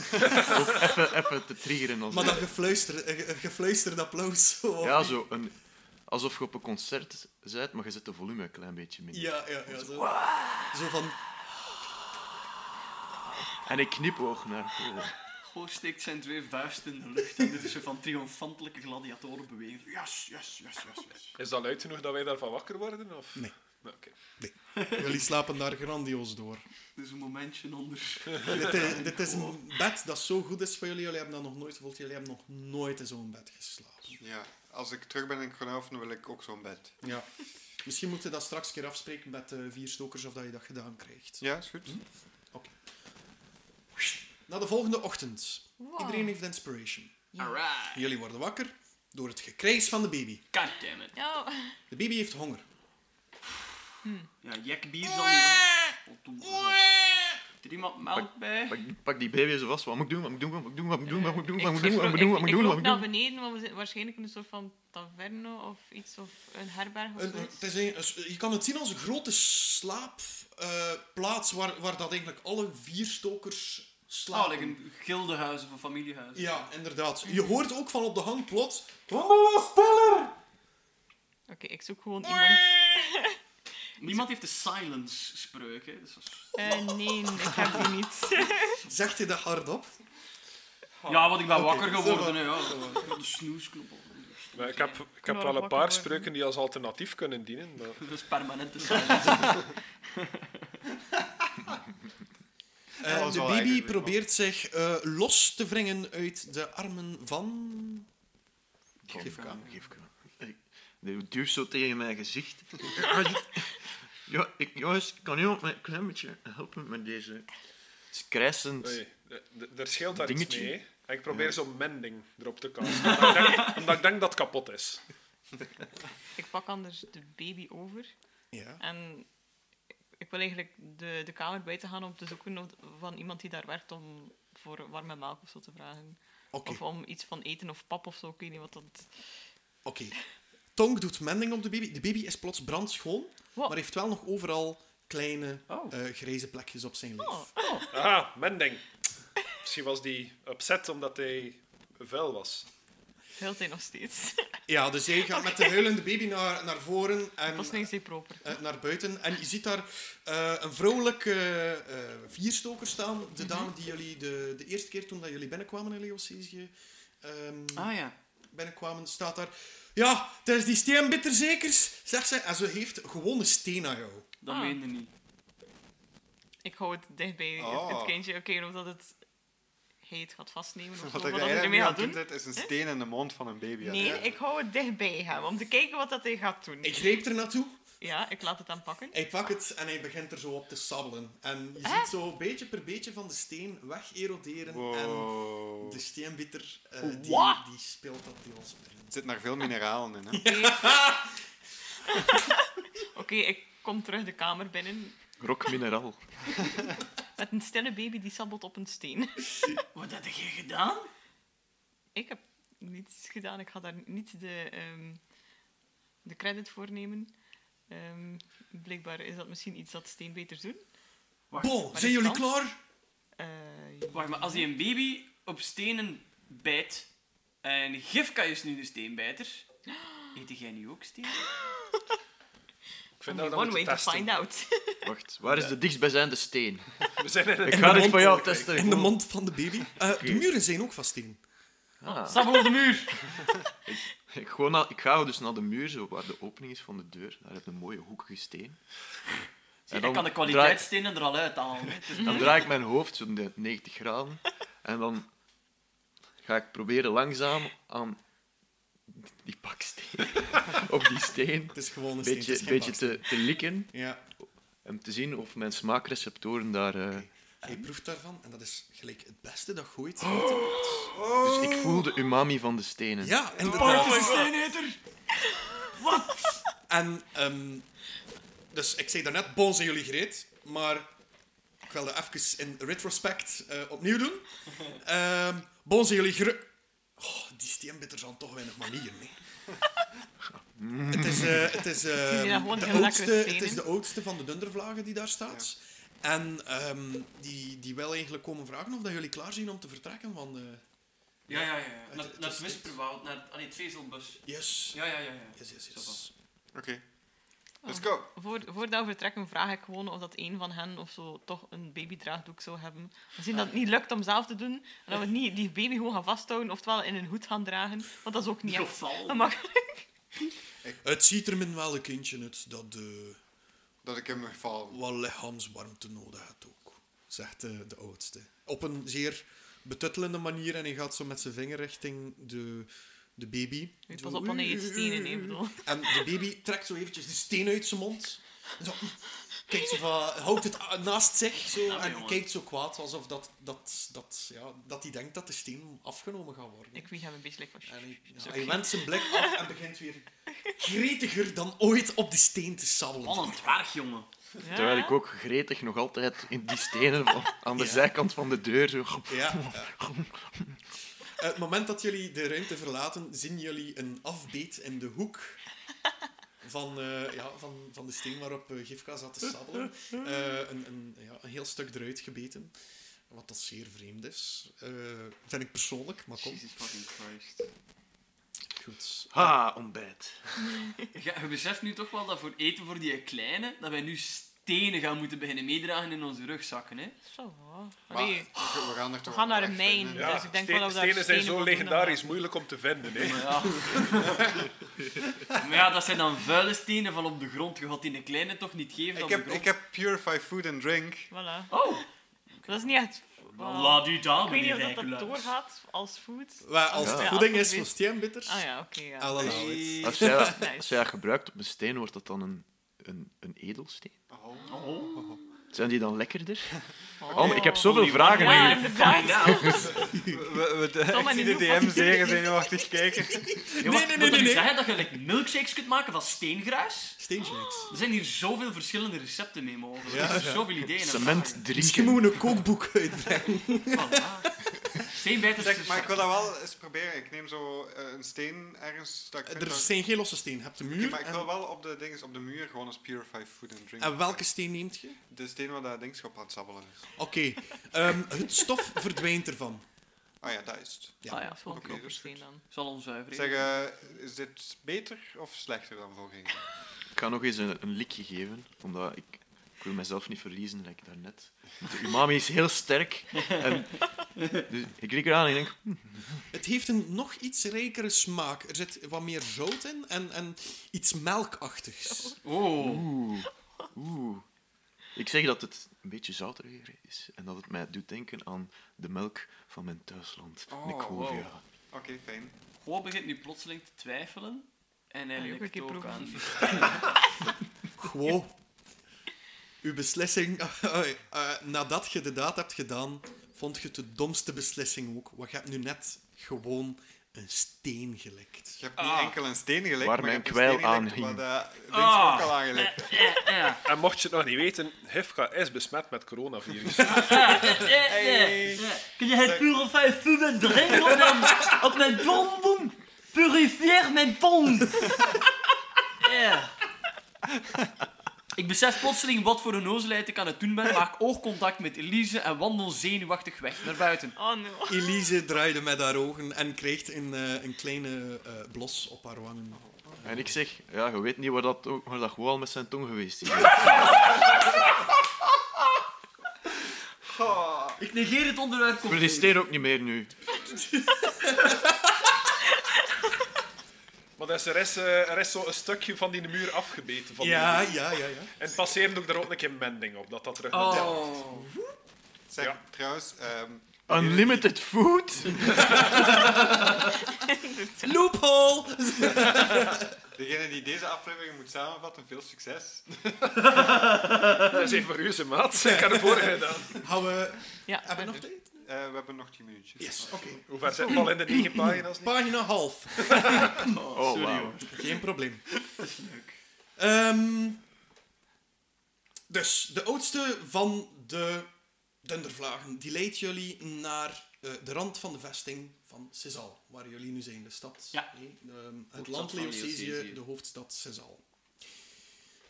Speaker 4: ook even, even te triggeren. Als
Speaker 3: Maar dan gefluister, eh, ge- gefluisterd applaus. Zo.
Speaker 4: Ja, zo een, alsof je op een concert bent, maar je zet de volume een klein beetje minder.
Speaker 3: Ja, ja, ja. Zo, zo van...
Speaker 4: En ik knipoog naar voren.
Speaker 2: Goor steekt zijn twee vuisten in de lucht en dit is een van triomfantelijke gladiatorenbeweging. Yes, yes, yes, yes, yes.
Speaker 1: Is dat luid genoeg dat wij daarvan wakker worden? Of?
Speaker 3: Nee.
Speaker 1: Nou, oké.
Speaker 3: Jullie slapen daar grandioos door.
Speaker 2: Dit is een momentje onder.
Speaker 3: dit, is, dit is een bed dat zo goed is voor jullie. Jullie hebben dat nog nooit gevoeld. Jullie hebben nog nooit in zo'n bed geslapen.
Speaker 5: Ja, als ik terug ben in Kronhoven, wil ik ook zo'n bed.
Speaker 3: Ja. Misschien moeten we dat straks een keer afspreken met eh, vier stokers of dat je dat gedaan krijgt.
Speaker 5: Ja, is goed.
Speaker 3: Na de volgende ochtend.
Speaker 6: Wow.
Speaker 3: Iedereen heeft inspiration.
Speaker 2: Alright.
Speaker 3: Jullie worden wakker door het gekrijs van de baby.
Speaker 2: God damn it.
Speaker 6: Ja,
Speaker 3: De baby heeft honger.
Speaker 2: Ja, jekbier zal niet wel. Heeft er iemand melk bij?
Speaker 4: Pak, pak die baby zo vast. Wat moet ik doen? Wat moet ik doen? Wat moet ik doen? Wat moet ik doen? Wat moet ik doen? Wat moet ik doen?
Speaker 6: ik,
Speaker 4: Wat moet ik doen? Wat moet ik
Speaker 6: ik
Speaker 4: doen? Wat
Speaker 6: loop
Speaker 4: moet ik
Speaker 6: naar
Speaker 4: doen?
Speaker 6: beneden, want we zitten waarschijnlijk in een soort van taverno of iets, of een herberg of
Speaker 3: Een-
Speaker 6: zoiets.
Speaker 3: het is een- een- je kan het zien als een grote slaapplaats waar, waar dat eigenlijk alle vier stokers
Speaker 2: Oh,
Speaker 3: slapen.
Speaker 2: like een gildenhuis of een familiehuis.
Speaker 3: Ja, inderdaad. Je hoort ook van op de hang plots...
Speaker 6: Oké, ik zoek gewoon iemand.
Speaker 2: Niemand heeft de silence spreuk, hè. Dus dat is-
Speaker 6: Eh, nee, ik heb die niet.
Speaker 3: Zegt hij dat hardop?
Speaker 2: Ja, want ik ben
Speaker 3: Oké,
Speaker 2: wakker
Speaker 3: zo
Speaker 2: geworden.
Speaker 3: wat.
Speaker 2: hè, Ja, zo wat. de snoesknoppel.
Speaker 1: Maar ik heb, ik heb wel een paar spreuken die als alternatief kunnen dienen. Maar...
Speaker 2: Dat is permanent te zijn.
Speaker 3: Eh,
Speaker 5: Dat was
Speaker 3: de
Speaker 5: wel
Speaker 3: baby
Speaker 5: eigenlijk weer,
Speaker 3: probeert zich eh, los te wringen uit de armen van... Gifka.
Speaker 4: Gifka. Dat duwt zo tegen mijn gezicht. Ja, [LAUGHS] ja, ik, jongens, kan iemand mij een klein beetje helpen met deze krijsend...
Speaker 1: Oei, d- d- er scheelt daar
Speaker 4: Dingetje.
Speaker 1: iets mee. hè. En ik probeer zo'n mending erop te kasten. omdat, ik denk- [LAUGHS] omdat ik denk dat het kapot is.
Speaker 6: Ik pak anders de baby over.
Speaker 3: Ja.
Speaker 6: En ik wil eigenlijk de, de kamer buiten gaan om te zoeken of- van iemand die daar werkt om voor warme melk of zo te vragen.
Speaker 3: Oké,
Speaker 6: Of om iets van eten of pap of zo. Ik weet niet wat dat...
Speaker 3: oké. Tonk doet mending op de baby. De baby is plots brandschoon,
Speaker 6: Wow.
Speaker 3: maar heeft wel nog overal kleine
Speaker 1: Oh.
Speaker 3: eh, grijze plekjes op zijn lijf.
Speaker 6: Oh.
Speaker 1: Aha, mending. Misschien was die upset omdat hij vuil was.
Speaker 6: Huilt hij nog steeds. [LAUGHS]
Speaker 3: Ja, dus jij gaat met de huilende baby naar, naar voren en
Speaker 6: Dat is niet zeer proper.
Speaker 3: eh, naar buiten. En je ziet daar eh, een vrouwelijke eh, eh, vierstoker staan.
Speaker 6: Mhm.
Speaker 3: De dame die jullie de, de eerste keer toen dat jullie binnenkwamen in Leocesië... ehm,
Speaker 2: Ah ja.
Speaker 3: binnenkwamen, staat daar... Ja, het is die steenbitter zekers, zegt ze. En ze heeft gewone steen aan jou.
Speaker 2: Dat
Speaker 6: Ah.
Speaker 2: meende niet.
Speaker 6: Ik hou het dicht bij het-
Speaker 5: Oh.
Speaker 6: het kindje. Oké, omdat het heet gaat vastnemen of zo.
Speaker 5: [LAUGHS] Wat
Speaker 6: Wat
Speaker 5: ik
Speaker 6: dat hij
Speaker 5: eigenlijk
Speaker 6: ermee
Speaker 5: nu aan
Speaker 6: gaat
Speaker 5: het doen
Speaker 6: doen.
Speaker 5: bent, is een steen in de mond van een baby. aan
Speaker 6: Nee,
Speaker 5: het doen.
Speaker 6: ik hou het dicht bij hem om te kijken wat dat hij gaat doen.
Speaker 3: Ik greep er naartoe.
Speaker 6: Ja, ik laat het hem pakken.
Speaker 3: Hij pakt het en hij begint er zo op te sabbelen. En je
Speaker 6: Hè?
Speaker 3: ziet zo beetje per beetje van de steen weg eroderen. En
Speaker 5: Wow.
Speaker 3: de steenbitter, eh,
Speaker 6: Wat?
Speaker 3: die, die speelt dat deels binnen.
Speaker 5: Er zitten nog veel mineralen in. Hè?
Speaker 6: Oké, ik kom terug de kamer binnen
Speaker 4: Rock mineral.
Speaker 6: met een stille baby die sabbelt op een steen. [LAUGHS]
Speaker 2: Wat heb jij gedaan?
Speaker 6: ik heb niets gedaan. Ik ga daar niet de, ehm, de credit voor nemen. Ehm, blijkbaar is dat misschien iets dat steenbeters doen.
Speaker 2: Wacht,
Speaker 3: Bon,
Speaker 6: Maar
Speaker 3: zijn
Speaker 6: die
Speaker 3: jullie
Speaker 6: kans?
Speaker 3: klaar?
Speaker 6: Eh,
Speaker 2: wacht maar als hij een baby op stenen bijt en Gifka is dus nu de steenbijter, eet jij nu ook steen?
Speaker 1: Ik vind dat
Speaker 6: only
Speaker 1: we dat
Speaker 6: one
Speaker 1: moeten
Speaker 6: way to
Speaker 1: testen.
Speaker 6: find out. [LAUGHS]
Speaker 4: Wacht, waar is de dichtstbijzijnde steen?
Speaker 1: We zijn in
Speaker 4: Ik
Speaker 1: een...
Speaker 4: ga dit
Speaker 3: mond.
Speaker 4: van jou testen.
Speaker 3: In de mond van de baby. Eh, de muren zijn ook van steen.
Speaker 4: Ah.
Speaker 2: Sabbel op de muur!
Speaker 4: Ik, gewoon na- ik ga dus naar de muur, zo, waar de opening is van de deur. Daar heb je een mooie hoekige steen.
Speaker 2: Zie,
Speaker 4: dan
Speaker 2: ik kan de
Speaker 4: draai-
Speaker 2: kwaliteitsstenen er al uithalen. hè. Het is-
Speaker 4: Dan draai ik mijn hoofd zo'n de- 90 graden. En dan ga ik proberen langzaam aan die baksteen, op die steen,
Speaker 3: Het is gewoon een
Speaker 4: een
Speaker 3: steen. het
Speaker 4: beetje,
Speaker 3: is geen
Speaker 4: beetje
Speaker 3: bak.
Speaker 4: te, te likken.
Speaker 3: Ja.
Speaker 4: En te zien of mijn smaakreceptoren daar... eh,
Speaker 3: Hij proeft daarvan en dat is gelijk het beste dat
Speaker 6: [GASPS]
Speaker 3: gooit.
Speaker 4: Dus ik voel de umami van de stenen.
Speaker 3: Ja, inderdaad.
Speaker 2: Oh, het is een steeneter! Wat?
Speaker 3: En, ehm, dus ik zei daarnet, bon zijn jullie gereed, maar ik wil dat even in retrospect eh, opnieuw doen. Ehm bon zijn jullie gere... Oh, die steenbitters zijn toch weinig manieren, nee. het is, eh, het
Speaker 6: [LAUGHS]
Speaker 3: is, ehm,
Speaker 6: zijn daar gewoon heel
Speaker 3: de
Speaker 6: lekkere
Speaker 3: oudste, het
Speaker 6: stenen.
Speaker 3: is de oudste van de dundervlagen die daar staat. En ehm, die, die wil eigenlijk komen vragen of dat jullie klaar zijn om te vertrekken eh, van de...
Speaker 2: Ja, ja, ja. Naar,
Speaker 3: Het- het
Speaker 2: naar
Speaker 3: is
Speaker 2: het
Speaker 3: dit.
Speaker 2: Whisperwoud, naar allee, het vezelbus.
Speaker 3: Yes.
Speaker 2: Ja, ja, ja. ja.
Speaker 3: Yes, yes,
Speaker 2: Zo
Speaker 3: yes.
Speaker 5: Oké. Let's go.
Speaker 6: Voor, voordat we vertrekken vraag ik gewoon of dat een van hen of zo toch een babydraagdoek zou hebben. We zien dat het niet lukt om zelf te doen. En dat we niet die baby gewoon gaan vasthouden, oftewel in een hoed gaan dragen. Want dat is ook niet
Speaker 2: Niet
Speaker 6: echt.
Speaker 2: geval.
Speaker 6: Dat mag. [LAUGHS]
Speaker 3: Het ziet er min wel een kindje uit dat... de
Speaker 5: Dat ik hem val.
Speaker 3: wat lichaamswarmte nodig had ook, zegt eh, de, de oudste. Op een zeer betuttelende manier en hij gaat zo met zijn vinger richting de, de baby.
Speaker 6: Nu, Pas op wanneer je het stenen neemt. bedoel.
Speaker 3: En de baby trekt zo eventjes de steen uit zijn mond. Zo, kijkt zo van, houdt het a- naast zich zo,
Speaker 2: Ah,
Speaker 3: en
Speaker 2: jongen.
Speaker 3: kijkt zo kwaad alsof dat, dat, dat, ja, dat hij denkt dat de steen afgenomen gaat worden.
Speaker 6: Ik wieg hem een beetje lekker.
Speaker 3: En hij, ja, hij wendt zijn blik af en begint weer gretiger dan ooit op de steen te sabbelen.
Speaker 2: Wat een dwerg, jongen.
Speaker 4: Terwijl ik ook gretig nog altijd in die stenen van- aan de
Speaker 3: Ja.
Speaker 4: zijkant van de deur... Zo.
Speaker 3: Ja. ja. Eh, het moment dat jullie de ruimte verlaten, zien jullie een afbeet in de hoek van, eh, ja, van, van de steen waarop eh, Gifka zat te sabbelen. Eh, een, een, ja, een heel stuk eruit gebeten. Wat dat zeer vreemd is. Eh, vind ik persoonlijk, maar kom.
Speaker 5: Jesus fucking Christ.
Speaker 3: Goed.
Speaker 4: Ha, ontbijt.
Speaker 2: Ja, je beseft nu toch wel dat voor eten voor die kleine, dat wij nu tenen gaan moeten beginnen meedragen in onze rugzakken. Hè?
Speaker 6: Zo. hoor.
Speaker 5: Maar
Speaker 6: Allee,
Speaker 5: we gaan er toch
Speaker 6: we gaan naar
Speaker 5: wel
Speaker 6: een
Speaker 5: echt
Speaker 6: mijn.
Speaker 5: vinden.
Speaker 7: Ja,
Speaker 6: dus ik denk
Speaker 7: steen-
Speaker 6: wel dat we daar
Speaker 7: stenen zijn zo
Speaker 6: voldoende
Speaker 7: legendarisch,
Speaker 6: hebben.
Speaker 7: moeilijk om te vinden. Hè.
Speaker 2: Maar ja. [LAUGHS] maar ja, dat zijn dan vuile stenen van op de grond. Je gaat die een kleine toch niet geven
Speaker 5: Ik
Speaker 2: op
Speaker 5: heb,
Speaker 2: de grond.
Speaker 5: ik heb Purify Food and Drink.
Speaker 6: Voilà.
Speaker 2: Oh,
Speaker 6: Dat is niet echt...
Speaker 2: laat u daar,
Speaker 6: Oh. Ik weet niet
Speaker 2: meneer
Speaker 6: of dat, dat
Speaker 2: Rijkeluis.
Speaker 6: doorgaat als food.
Speaker 3: Waar als het
Speaker 6: Ja.
Speaker 3: voeding
Speaker 6: Ja,
Speaker 3: is
Speaker 6: goed.
Speaker 3: voor steenbitters.
Speaker 6: Ah ja, oké. ja.
Speaker 3: I'll
Speaker 5: Nou,
Speaker 3: allow it.
Speaker 4: Als jij, dat-
Speaker 6: Nice.
Speaker 4: als jij dat gebruikt op een steen, wordt dat dan een, een, een edelsteen?
Speaker 2: Oh.
Speaker 4: Zijn die dan lekkerder?
Speaker 6: Oh.
Speaker 4: Oh, maar ik heb zoveel
Speaker 2: Holy
Speaker 4: vragen
Speaker 2: man.
Speaker 6: Ja,
Speaker 4: nu.
Speaker 6: inderdaad.
Speaker 5: We, we,
Speaker 6: Tom
Speaker 5: [LAUGHS]
Speaker 6: en
Speaker 5: ik
Speaker 6: die
Speaker 5: zie de
Speaker 6: Noefa.
Speaker 5: DM
Speaker 6: [LAUGHS]
Speaker 5: zeer [LAUGHS] zenuwachtig kijken.
Speaker 2: Ja, maar
Speaker 3: nee,
Speaker 2: moet
Speaker 3: nee,
Speaker 2: ik
Speaker 3: nee.
Speaker 2: zeggen dat je like, milkshakes kunt maken van steengruis?
Speaker 3: Steenshakes.
Speaker 2: Er zijn hier zoveel verschillende recepten mee mogelijk.
Speaker 3: Ja,
Speaker 2: er zijn zoveel ideeën. en
Speaker 4: Cement
Speaker 3: Misschien
Speaker 4: drinken.
Speaker 3: moeten we een kookboek uitbrengen.
Speaker 2: vragen. Voilà. Steenbijters
Speaker 5: Zeg, maar ik wil
Speaker 2: recept.
Speaker 5: dat wel eens proberen. Ik neem zo eh, een steen ergens. Dat ik vind
Speaker 3: Er
Speaker 5: dat-
Speaker 3: zijn geen losse steen. Je hebt de
Speaker 5: Oké,
Speaker 3: muur.
Speaker 5: maar ik wil
Speaker 3: en,
Speaker 5: wel op de, dinges, op de muur gewoon eens Purify Food and Drink.
Speaker 3: en welke steen neemt je?
Speaker 5: De steen waar dat dingschap aan het sabbelen is.
Speaker 3: Oké, ehm, het stof [LAUGHS] verdwijnt ervan.
Speaker 5: Ah ja, dat is het.
Speaker 3: Ja.
Speaker 2: Ah ja,
Speaker 6: Oh Dat is wel een
Speaker 5: Oké, dat is
Speaker 6: knoppersteen
Speaker 5: goed.
Speaker 6: dan.
Speaker 2: ik zal onzuiver
Speaker 5: Zeg,
Speaker 2: eten.
Speaker 5: eh, is dit beter of slechter dan vorige keer?
Speaker 4: Ik ga nog eens een, een likje geven, omdat ik, ik wil mezelf niet verliezen, like daarnet. De umami is heel sterk. En, dus ik lik eraan en ik denk,
Speaker 3: Het heeft een nog iets rijkere smaak. Er zit wat meer zout in en, en iets melkachtigs.
Speaker 2: Oh,
Speaker 4: oeh, oeh. Ik zeg dat het een beetje zouter weer is en dat het mij doet denken aan de melk van mijn thuisland,
Speaker 5: Oh,
Speaker 4: Nicovia.
Speaker 5: wow. Oké, fijn.
Speaker 2: gewoon begint nu plotseling te twijfelen. En
Speaker 6: Ja,
Speaker 2: eigenlijk
Speaker 6: ik
Speaker 2: het
Speaker 6: wil
Speaker 2: ook
Speaker 6: een keer
Speaker 2: aan.
Speaker 3: Gewoon. Uw beslissing, [LAUGHS] eh, eh, nadat je de daad hebt gedaan, vond je het de domste beslissing ook. Want je hebt nu net gewoon een steen gelikt.
Speaker 5: Je hebt niet
Speaker 2: Ah.
Speaker 5: enkel een steen gelikt,
Speaker 4: Waar
Speaker 5: maar
Speaker 4: mijn
Speaker 5: je hebt
Speaker 4: kwijl
Speaker 5: een steen
Speaker 4: aan
Speaker 5: gelikt
Speaker 4: hing.
Speaker 5: waar dat dingschap
Speaker 2: Ah.
Speaker 5: al aangelikt.
Speaker 2: Eh, eh,
Speaker 7: En mocht je het nog niet weten, Hifka is besmet met coronavirus.
Speaker 2: eh, eh, eh. Kun je het purify food and drink op mijn, [LAUGHS] op mijn tong doen? Purifier mijn tong! [LAUGHS] Eh. Ik besef plotseling wat voor een nozelheid ik aan het doen ben, maak oogcontact met Elise en wandel zenuwachtig weg naar buiten.
Speaker 6: Oh no.
Speaker 3: Elise draaide met haar ogen en kreeg een, eh, een kleine eh, blos op haar wangen.
Speaker 4: En ik zeg, ja, je weet niet waar dat, ook- waar dat gewoon al met zijn tong geweest is.
Speaker 2: Ik negeer het onderwerp
Speaker 4: Ik
Speaker 2: compleet.
Speaker 4: protesteer ook niet meer nu.
Speaker 7: maar dus er is, eh, er is zo'n stukje van die muur afgebeten. Van die
Speaker 3: Ja,
Speaker 7: muur.
Speaker 3: ja, ja, ja.
Speaker 7: En passeerde ook daar ook een keer mending op, dat dat terug naar Delft.
Speaker 2: Oh.
Speaker 5: Zeg,
Speaker 7: Ja.
Speaker 5: trouwens, ehm,
Speaker 4: Unlimited food?
Speaker 3: Loophole!
Speaker 5: degene die deze aflevering moet samenvatten, veel succes. Eh,
Speaker 7: Dat is even voor u, zijn maat. [LAUGHS] Ik heb het vorige gedaan.
Speaker 3: Houden we...
Speaker 6: Ja,
Speaker 3: Hebben we
Speaker 6: ben-
Speaker 3: nog tijd?
Speaker 5: Eh, we hebben nog 10 minuutjes.
Speaker 3: Yes, oké.
Speaker 7: Hoe ver zit het al in de negen pagina's? niet?
Speaker 3: Pagina half.
Speaker 4: Oh, wow.
Speaker 3: Geen probleem. Dat is [LAUGHS] leuk. dus, de oudste van de dundervlagen, die leidt jullie naar eh, de rand van de vesting van Cesal, waar jullie nu zijn, de stad.
Speaker 2: Ja.
Speaker 3: Nee, ehm, het
Speaker 2: Hoofdstad
Speaker 3: land
Speaker 2: van
Speaker 3: Leocesië,
Speaker 2: Leocesië.
Speaker 3: de hoofdstad Cesal.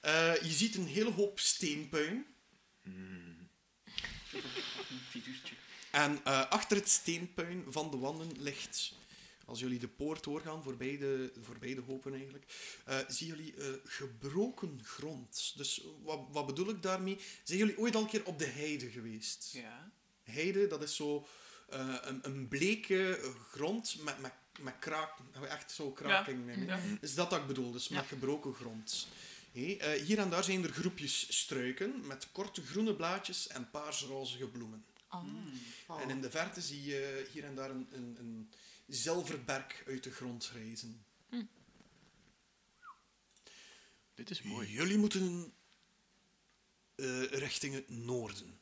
Speaker 3: Eh, je ziet een hele hoop steenpuin. Hmm.
Speaker 2: Figuurtje.
Speaker 3: En eh, achter het steenpuin van de wanden ligt, als jullie de poort doorgaan, voorbij de, voorbij de hopen eigenlijk, eh, zien jullie eh, gebroken grond. Dus wat, wat bedoel ik daarmee? Zijn jullie ooit al een keer op de heide geweest?
Speaker 2: Ja.
Speaker 3: Heide, dat is zo eh, een, een bleke eh, grond met, met, met kraak, nou, echt zo kraking. in, hè.
Speaker 2: ja.
Speaker 3: Is dat dat ik bedoel, dus met
Speaker 2: Ja.
Speaker 3: gebroken grond. Hé, eh, hier en daar zijn er groepjes struiken met korte groene blaadjes en paars-rozige bloemen.
Speaker 6: Oh.
Speaker 5: Oh.
Speaker 3: En in de verte zie je hier en daar een, een, een zilverberk uit de grond rijzen.
Speaker 4: Dit is mooi.
Speaker 3: Jullie moeten eh, richting het noorden.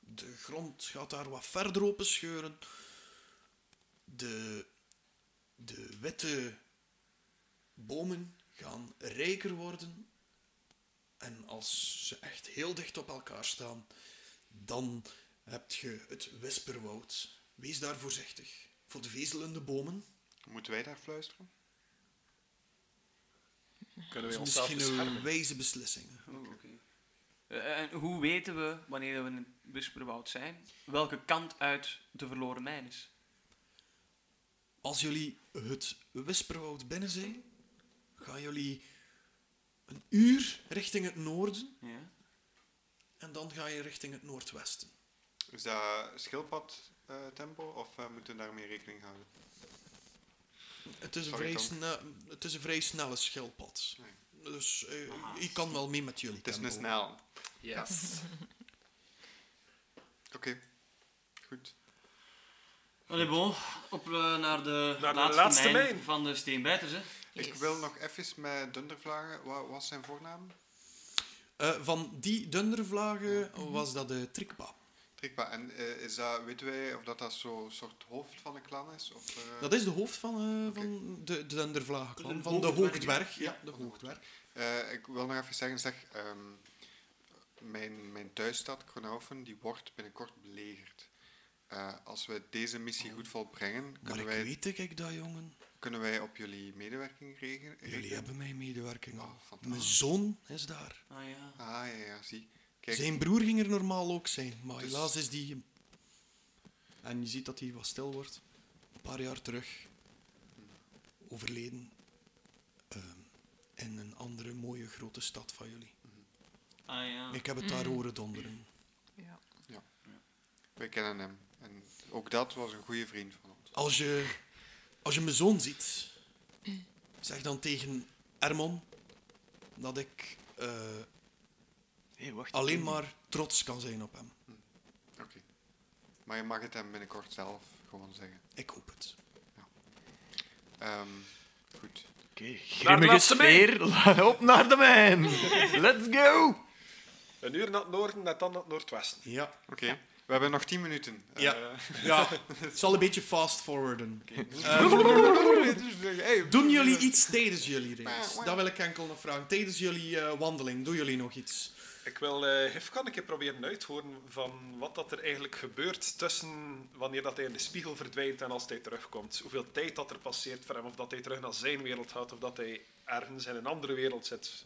Speaker 3: De grond gaat daar wat verder open scheuren. De, de witte bomen gaan rijker worden. En als ze echt heel dicht op elkaar staan, dan heb je het wisperwoud. Wees daar voorzichtig. Voor de vezelende bomen.
Speaker 5: Moeten wij daar fluisteren?
Speaker 3: Dat
Speaker 7: Kunnen we
Speaker 3: is
Speaker 7: onszelf
Speaker 3: misschien
Speaker 7: beschermen?
Speaker 3: een wijze beslissing.
Speaker 2: Eh, en hoe weten we wanneer we in het Wisperwoud zijn, welke kant uit de verloren mijn is?
Speaker 3: Als jullie het Wisperwoud binnen zijn, gaan jullie een uur richting het noorden
Speaker 2: Ja.
Speaker 3: En dan ga je richting het noordwesten.
Speaker 5: Is dat schildpad-tempo of eh, moeten we daarmee rekening houden?
Speaker 3: Het is een,
Speaker 5: Sorry,
Speaker 3: vrij,
Speaker 5: Tom.
Speaker 3: sne- het is een vrij snelle schildpad. Dus eh, ik kan wel mee met jullie
Speaker 5: Ah, Het is een
Speaker 3: tempo.
Speaker 5: snel.
Speaker 7: Yes.
Speaker 5: [LAUGHS] Oké, goed.
Speaker 2: Allee, bon. Op eh, naar de
Speaker 7: Naar de
Speaker 2: laatste,
Speaker 7: laatste
Speaker 2: mijn
Speaker 7: mijn.
Speaker 2: van de steenbijters, hè.
Speaker 5: Ik wil nog even met Dunder vragen. Wat was zijn voornaam?
Speaker 3: Eh, van die dundervlagen was dat de Trikpa.
Speaker 5: Trikpa. En eh, is dat, weten wij of dat, dat zo'n soort hoofd van een clan is? Of, eh,
Speaker 3: Dat is de hoofd van, eh, van de, de dundervlagenclan,
Speaker 2: De
Speaker 3: van de
Speaker 2: hoogdwerg,
Speaker 3: hoogdwerg.
Speaker 5: ja.
Speaker 3: Ja, de hoogdwerg.
Speaker 5: Eh, ik wil nog even zeggen, zeg, ehm, mijn, mijn thuisstad, Kronhoven, die wordt binnenkort belegerd. Eh, als we deze missie goed volbrengen,
Speaker 3: Maar
Speaker 5: kunnen
Speaker 3: ik
Speaker 5: wij,
Speaker 3: weet ik dat, jongen.
Speaker 5: kunnen wij op jullie medewerking rekenen.
Speaker 3: Jullie hebben mijn medewerking al.
Speaker 5: Oh, fantastisch.
Speaker 3: Mijn zoon is daar.
Speaker 2: Ah ja.
Speaker 5: Ah, ja, ja, zie. Kijk,
Speaker 3: Zijn broer ging er normaal ook zijn, maar
Speaker 5: Dus-
Speaker 3: helaas is die... En je ziet dat hij wat stil wordt. Een paar jaar terug. Overleden. Ehm, in een andere mooie grote stad van jullie.
Speaker 2: Ah ja.
Speaker 3: Ik heb het daar horen donderen.
Speaker 6: Ja.
Speaker 5: wij kennen hem. En ook dat was een goede vriend van ons.
Speaker 3: Als je, als je mijn zoon ziet, zeg dan tegen Ermon dat ik eh,
Speaker 4: Hé, wacht.
Speaker 3: alleen maar trots kan zijn op hem.
Speaker 5: Oké. Maar je mag het hem binnenkort zelf gewoon zeggen.
Speaker 3: Ik hoop het.
Speaker 5: Ehm, goed.
Speaker 4: Oké,
Speaker 7: Naar de
Speaker 4: grimmige
Speaker 7: laatste
Speaker 4: sfeer. [LAUGHS] Op naar de mijn. Let's go.
Speaker 7: Een uur naar het noorden, net dan naar het noordwesten.
Speaker 3: Ja.
Speaker 5: Oké, we hebben nog 10 minuten.
Speaker 3: Ja.
Speaker 5: [LAUGHS]
Speaker 3: [LAUGHS] ja. Het zal een beetje fast forwarden.
Speaker 5: Eh, hey,
Speaker 3: Doen jullie iets tijdens jullie reis? Dat wil ik enkel nog vragen. Tijdens jullie eh, wandeling, doen jullie nog iets?
Speaker 7: Ik wil eh Hifka een keer proberen uithoren van wat dat er eigenlijk gebeurt tussen wanneer dat hij in de spiegel verdwijnt en als hij terugkomt. Hoeveel tijd dat er passeert voor hem, of dat hij terug naar zijn wereld gaat, of dat hij ergens in een andere wereld zit.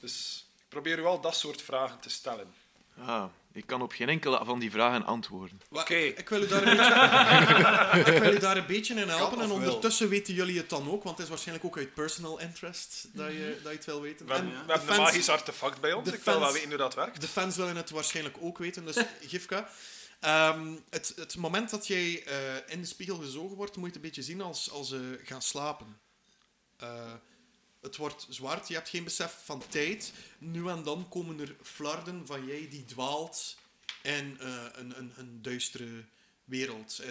Speaker 7: Dus ik probeer u wel dat soort vragen te stellen.
Speaker 4: Ah, ik kan op geen enkele van die vragen antwoorden.
Speaker 3: Wa-
Speaker 7: Oké.
Speaker 3: Ik wil u daar een beetje, [LAUGHS] ik wil u daar een beetje in helpen.
Speaker 5: Kan
Speaker 3: En
Speaker 5: of wil?
Speaker 3: ondertussen weten jullie het dan ook, want het is waarschijnlijk ook uit personal interest dat je, dat je het wil weten.
Speaker 7: We hebben,
Speaker 3: En
Speaker 7: we
Speaker 3: de
Speaker 7: hebben een
Speaker 3: fans-
Speaker 7: magisch artefact bij ons.
Speaker 3: de
Speaker 7: Ik wil wel
Speaker 3: fans-
Speaker 7: weten hoe dat werkt.
Speaker 3: De fans willen het waarschijnlijk ook weten, dus Gifka. ehm, het, het moment dat jij eh, in de spiegel gezogen wordt, moet je het een beetje zien als, als eh, gaan slapen. Eh, het wordt zwart, je hebt geen besef van tijd. Nu en dan komen er flarden van jij die dwaalt in eh, een, een, een duistere wereld eh,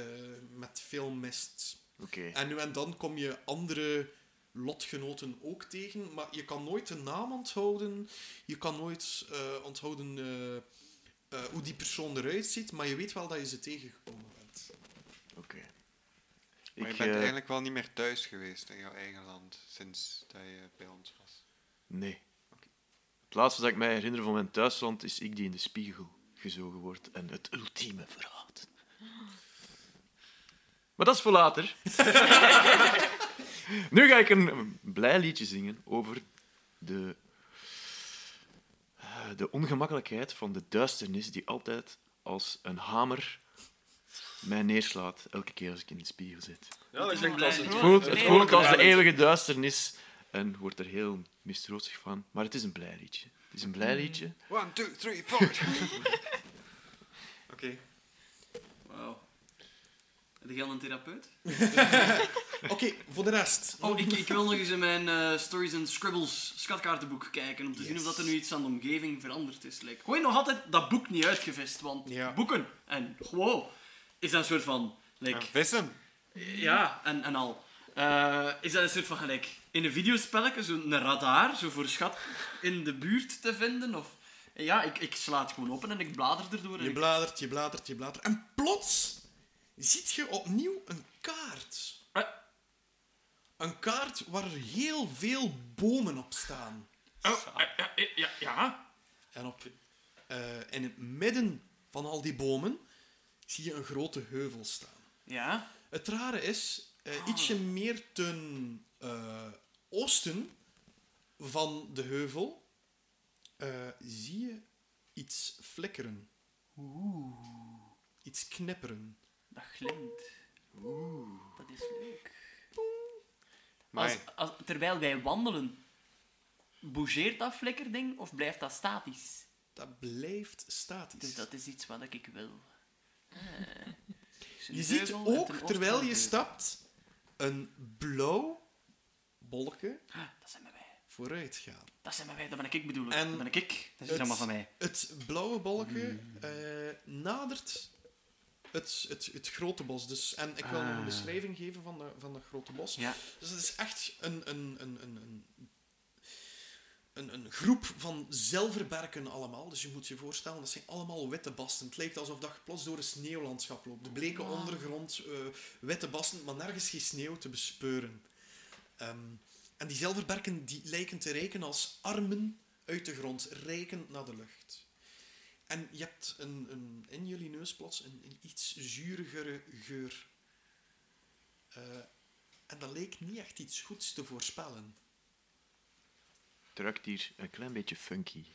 Speaker 3: met veel mist.
Speaker 4: Oké.
Speaker 3: En nu en dan kom je andere lotgenoten ook tegen, maar je kan nooit de naam onthouden. Je kan nooit eh, onthouden eh, eh, hoe die persoon eruit ziet, maar je weet wel dat je ze tegengekomen bent.
Speaker 4: Oké.
Speaker 5: Maar je
Speaker 4: Ik,
Speaker 5: bent
Speaker 4: eh,
Speaker 5: eigenlijk wel niet meer thuis geweest in jouw eigen land sinds dat je bij ons was.
Speaker 4: Nee. Het laatste dat ik mij herinner van mijn thuisland is ik die in de spiegel gezogen wordt en het ultieme verraad. Maar dat is voor later. nu ga ik een blij liedje zingen over de, eh, de ongemakkelijkheid van de duisternis die altijd als een hamer mij neerslaat elke keer als ik in de spiegel zit.
Speaker 7: Ja, dat klinkt als het
Speaker 4: Het voelt, het
Speaker 7: het
Speaker 4: voelt als de
Speaker 7: Ireland.
Speaker 4: eeuwige duisternis en wordt er heel mistroostig van. Maar het is een blij liedje. Het is een blij liedje.
Speaker 5: 1, 2, 3, 4. Oké.
Speaker 2: Wauw. Heb jij al een therapeut?
Speaker 3: [LAUGHS] Oké, voor de
Speaker 2: [LAUGHS]
Speaker 3: rest.
Speaker 2: Oh, ik, ik wil nog eens in mijn eh, Stories and Scribbles schatkaartenboek kijken om te zien of dat er nu iets aan de omgeving veranderd is. Like, gooi nog altijd dat boek niet uitgevest, want
Speaker 3: Ja.
Speaker 2: boeken en wow, is dat een soort van... Like,
Speaker 5: En Ehm, vissen.
Speaker 2: Ja, en, en al. Eh, is dat een soort van gelijk in een videospelletje, zo'n radar, zo voor schat in de buurt te vinden? Of... Ja, ik, ik sla het gewoon open en ik blader erdoor. En
Speaker 3: Je
Speaker 2: ik-
Speaker 3: bladert, je bladert, je bladert. En plots ziet je opnieuw een kaart.
Speaker 2: Eh,
Speaker 3: Een kaart waar er heel veel bomen op staan.
Speaker 2: Oh, eh, ja, ja.
Speaker 3: En op, eh, in het midden van al die bomen zie je een grote heuvel staan.
Speaker 2: Ja.
Speaker 3: Het rare is, eh,
Speaker 2: Ah.
Speaker 3: ietsje meer ten eh, oosten van de heuvel eh, zie je iets flikkeren. Iets knipperen.
Speaker 2: Dat glimt. Oeh. Dat is leuk. Als,
Speaker 5: Maar
Speaker 2: als, terwijl wij wandelen, bougeert dat flikkerding of blijft dat statisch?
Speaker 3: Dat blijft statisch.
Speaker 2: Dus dat is iets wat ik wil. Ah. Dus een
Speaker 3: Je ziet
Speaker 2: heuvel en ten
Speaker 3: ook,
Speaker 2: oosten
Speaker 3: terwijl
Speaker 2: een
Speaker 3: je
Speaker 2: heuvel.
Speaker 3: stapt, een blauw bolken
Speaker 2: Dat zijn maar wij.
Speaker 3: vooruit gaan.
Speaker 2: Dat zijn maar wij. Dat ben ik bedoelen.
Speaker 3: En
Speaker 2: dat ben ik. Dat is
Speaker 3: het-
Speaker 2: allemaal van mij.
Speaker 3: Het blauwe bolken eh, nadert het, het, het grote bos. Dus, en ik wil nog een
Speaker 2: Ah.
Speaker 3: beschrijving geven van, de, van dat grote bos.
Speaker 2: Ja.
Speaker 3: Dus het is echt een, een, een, een, een, een, een groep van zelverberken allemaal. Dus je moet je voorstellen, dat zijn allemaal witte basten. Het lijkt alsof dat je plots door een sneeuwlandschap loopt. De bleke
Speaker 2: Ah.
Speaker 3: ondergrond, eh, witte basten, maar nergens geen sneeuw te bespeuren. Ehm, en die zelverberken die lijken te reiken als armen uit de grond, reikend naar de lucht. En je hebt een, een, in jullie neus plots een, een iets zurigere geur. Eh, en dat leek niet echt iets goeds te voorspellen.
Speaker 4: Het ruikt hier een klein beetje funky.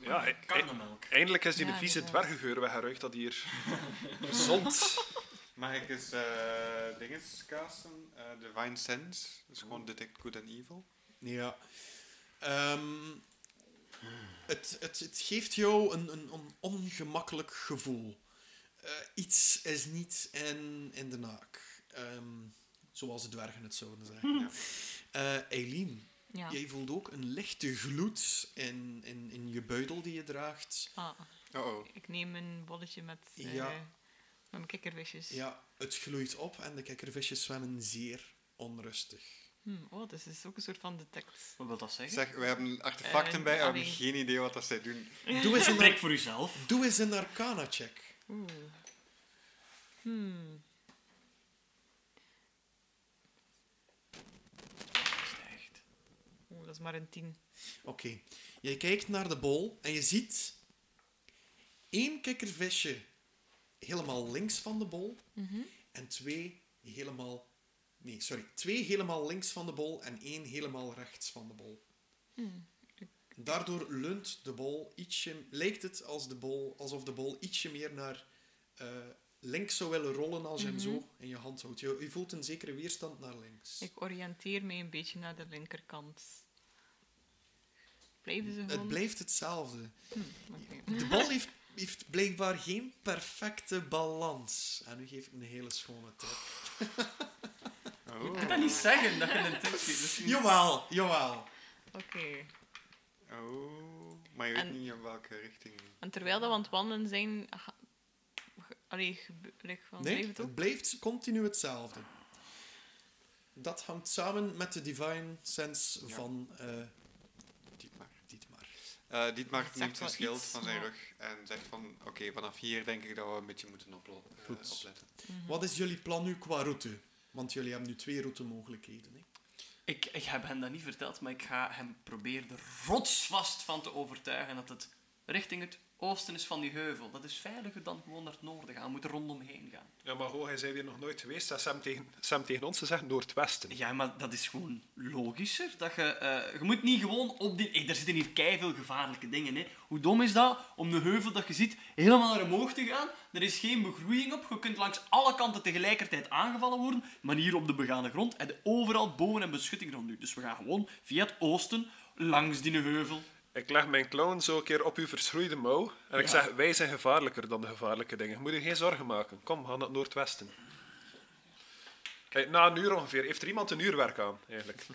Speaker 7: Ja, e- e-
Speaker 2: Karnemelk.
Speaker 7: eindelijk is die
Speaker 6: Ja,
Speaker 7: een vieze
Speaker 6: inderdaad.
Speaker 7: dwergengeur weggeruigd dat hier gezond.
Speaker 5: Mag ik eens eh dinges casten? Eh, Divine Sense. Dat is
Speaker 3: Oh.
Speaker 5: gewoon Detect Good and Evil.
Speaker 3: Ja. Ehm, het, het, het geeft jou een, een, een ongemakkelijk gevoel. Eh, iets is niet in, in de naak. Ehm, zoals de dwergen het zouden
Speaker 2: Hmm.
Speaker 3: zeggen.
Speaker 5: Ja.
Speaker 3: Eh, Eileen,
Speaker 6: Ja.
Speaker 3: jij voelt ook een lichte gloed in, in, in je buidel die je draagt.
Speaker 6: Ah,
Speaker 5: Oh oh.
Speaker 6: ik neem een bolletje met, eh,
Speaker 3: Ja.
Speaker 6: met mijn kikkervisjes.
Speaker 3: Ja, het gloeit op en de kikkervisjes zwemmen zeer onrustig.
Speaker 6: Hm, oh, dus het is ook een soort van detect.
Speaker 2: Wat wil dat zeggen?
Speaker 5: Zeg, we hebben artefacten
Speaker 6: Eh,
Speaker 5: bij en we hebben
Speaker 6: allee.
Speaker 5: geen idee wat dat zij doen.
Speaker 3: Doe eens een,
Speaker 2: Trek voor uzelf.
Speaker 3: doe eens een arcana-check.
Speaker 6: Oeh. Hmm.
Speaker 2: Echt.
Speaker 6: Oeh, dat is maar een tien.
Speaker 3: Oké. Jij kijkt naar de bol en je ziet één kikkervisje helemaal links van de bol en twee helemaal... Nee, sorry. Twee helemaal links van de bol en één helemaal rechts van de bol. Daardoor leunt de bol ietsje... Lijkt het als de bol, alsof de bol ietsje meer naar eh, links zou willen rollen als je hem zo in je hand houdt. Je, je voelt een zekere weerstand naar links.
Speaker 6: Ik oriënteer mij een beetje naar de linkerkant. Blijven ze
Speaker 3: Het
Speaker 6: gewoon?
Speaker 3: blijft hetzelfde.
Speaker 6: Hm, Oké.
Speaker 3: De bal heeft, heeft blijkbaar geen perfecte balans. En nu geef ik een hele schone tip.
Speaker 2: Je kunt dat niet zeggen dat je een tip geeft. Dat is niet-
Speaker 3: Jawel, jawel.
Speaker 6: Oké.
Speaker 5: Oh. Maar je weet
Speaker 6: En-
Speaker 5: niet in welke richting.
Speaker 6: En terwijl dat we aan het wandelen zijn... ga- ge- Allee, gebe- like, van
Speaker 3: Nee,
Speaker 6: blijft het
Speaker 3: het
Speaker 6: ook?
Speaker 3: blijft continu hetzelfde. Dat hangt samen met de divine sense
Speaker 5: Ja.
Speaker 3: van eh
Speaker 5: Dietmar.
Speaker 3: Dietmar.
Speaker 5: Eh Dietmar
Speaker 6: zegt
Speaker 5: neemt
Speaker 6: wel
Speaker 5: zijn schild
Speaker 6: iets,
Speaker 5: van zijn
Speaker 6: maar-
Speaker 5: rug en zegt van... Oké, vanaf hier denk ik dat we een beetje moeten oplo- eh,
Speaker 3: Goed.
Speaker 5: opletten.
Speaker 6: Mhm.
Speaker 3: Wat is jullie plan nu qua route? Want jullie hebben nu twee routemogelijkheden. Hè?
Speaker 2: Ik, ik heb hem dat niet verteld, maar ik ga hem proberen er rotsvast van te overtuigen dat het richting het oosten is van die heuvel. Dat is veiliger dan gewoon naar het noorden gaan. We moeten rondomheen gaan.
Speaker 7: Ja, maar ho, hij zei weer nog nooit geweest. Dat is hem tegen, is hem tegen ons te zeggen noordwesten.
Speaker 2: Ja, maar dat is gewoon logischer. Dat je, eh, je moet niet gewoon op die... Hey, daar zitten hier keiveel gevaarlijke dingen in. Hoe dom is dat om de heuvel dat je ziet helemaal naar omhoog te gaan? Er is geen begroeiing op. Je kunt langs alle kanten tegelijkertijd aangevallen worden. Maar hier op de begane grond en overal bomen en beschutting rond u. Dus we gaan gewoon via het oosten langs die heuvel.
Speaker 7: Ik leg mijn clown zo een keer op uw verschroeide mouw. En ik
Speaker 2: Ja.
Speaker 7: zeg, wij zijn gevaarlijker dan de gevaarlijke dingen. Moet u geen zorgen maken. Kom, we gaan naar het noordwesten. Hey, na een uur ongeveer. Heeft er iemand een uurwerk aan, eigenlijk?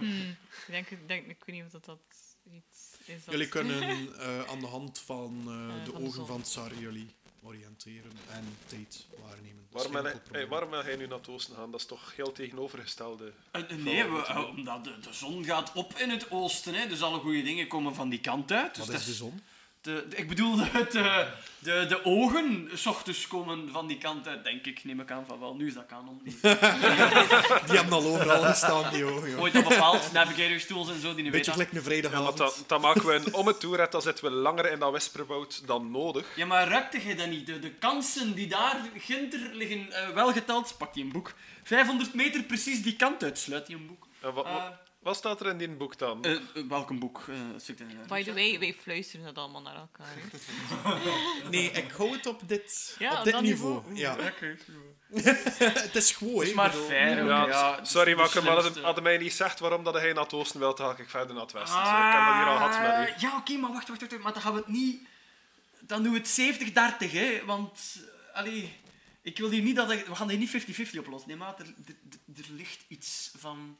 Speaker 6: Ik denk, ik denk, ik weet niet of dat, dat iets is. Dat...
Speaker 3: Jullie kunnen
Speaker 6: [LAUGHS]
Speaker 3: eh, aan de hand van eh,
Speaker 6: Eh,
Speaker 3: de
Speaker 6: van de
Speaker 3: ogen
Speaker 6: zon.
Speaker 3: van Tsar jullie oriënteren en tijd waarnemen. Dat is
Speaker 7: Waarom,
Speaker 3: geen
Speaker 7: wil
Speaker 3: enkel
Speaker 7: hij- hey,
Speaker 3: probleem.
Speaker 7: waarom wil hij nu naar het oosten gaan? Dat is toch heel tegenovergestelde.
Speaker 2: Eh, eh, nee,
Speaker 7: Voilà,
Speaker 2: we,
Speaker 7: natuurlijk.
Speaker 2: eh, omdat de, de zon gaat op in het oosten. Hè, dus alle goede dingen komen van die kant uit. Dus
Speaker 3: Wat
Speaker 2: dat
Speaker 3: is de zon?
Speaker 2: De, de- ik bedoel, [LAUGHS] het, eh, de, de ogen s ochtends komen van die kant uit, denk ik. Neem ik aan van wel. Nu is dat kanon. Die-
Speaker 3: [LAUGHS] [LAUGHS] Die hebben al overal gestaan, die ogen. joh.
Speaker 2: Ooit al bepaald, navigator stools en zo, die niet weten.
Speaker 3: Beetje gelijk een
Speaker 7: Ja, want
Speaker 3: vrijdagavond.
Speaker 7: dan, dan maken we een om het toeret. Dan zitten we langer in dat whisperwoud dan nodig.
Speaker 2: Ja, maar ruikte jij dat niet? De, de kansen die daar ginter liggen, eh, wel geteld. Pak die een boek. 500 meter precies die kant uit, sluit die een boek.
Speaker 7: En wat,
Speaker 2: Eh,
Speaker 7: Wat staat er in die boek dan?
Speaker 2: Eh, eh, welk een boek? eh, het stuk in-
Speaker 6: By the way, wij fluisteren dat allemaal naar elkaar. hè.
Speaker 3: [LAUGHS] Nee, ik hou het op dit,
Speaker 6: Ja,
Speaker 3: op
Speaker 6: op
Speaker 3: dit
Speaker 6: dat
Speaker 3: niveau.
Speaker 6: niveau.
Speaker 3: Ja. [LAUGHS]
Speaker 2: Oké,
Speaker 3: het is gewoon.
Speaker 2: Het is
Speaker 3: hè,
Speaker 2: maar
Speaker 3: ik bedoel.
Speaker 2: fair. ook,
Speaker 7: Ja,
Speaker 2: ja.
Speaker 7: sorry,
Speaker 2: Het is
Speaker 7: makker, maar
Speaker 2: de
Speaker 7: hadden
Speaker 2: slimste.
Speaker 7: hadden mij niet gezegd waarom dat hij naar het oosten wil, dan had ik verder naar het westen. Zo, ik heb dat
Speaker 2: Ah,
Speaker 7: hier al gehad met u.
Speaker 2: Ja, oké, maar wacht, wacht, wacht. Maar dan gaan we het niet... Dan doen we het 70-30, hè. Want, eh, allee... Ik wil hier niet dat... ik- We gaan hier niet 50-50 oplossen. Nee, maar er, er, er- er ligt iets van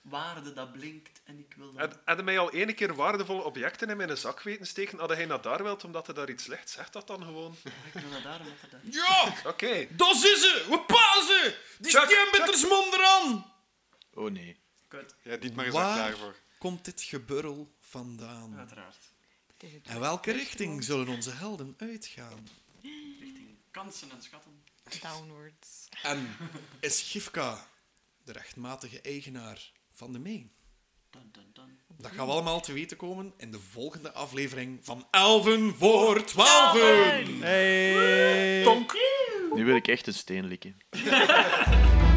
Speaker 2: waarde dat blinkt. En ik wil dat...
Speaker 7: Had- Hadden mij al ene keer waardevolle objecten in mijn zak weten steken, hadden hij naar daar wilt omdat er daar iets ligt. Zeg dat dan gewoon.
Speaker 2: Ik wil dat daar, omdat er dat...
Speaker 3: Ja,
Speaker 7: Oké.
Speaker 3: dat is ze! We pazen! Die
Speaker 7: Chuck,
Speaker 3: steenbitters monderan!
Speaker 4: Oh nee.
Speaker 2: Kut,
Speaker 5: Ja, dit maar is
Speaker 3: Waar?
Speaker 5: daar klaar voor.
Speaker 3: Komt dit geburrel vandaan?
Speaker 2: uiteraard.
Speaker 6: Het is het
Speaker 3: En welke richting zullen onze helden uitgaan?
Speaker 2: Richting kansen en schatten.
Speaker 6: downwards.
Speaker 3: En is Gifka de rechtmatige eigenaar van de Meen?
Speaker 2: Dun, dun, dun.
Speaker 3: Dat gaan we allemaal te weten komen in de volgende aflevering van Elven voor Twaalfen!
Speaker 4: Nu wil ik echt een steen likken.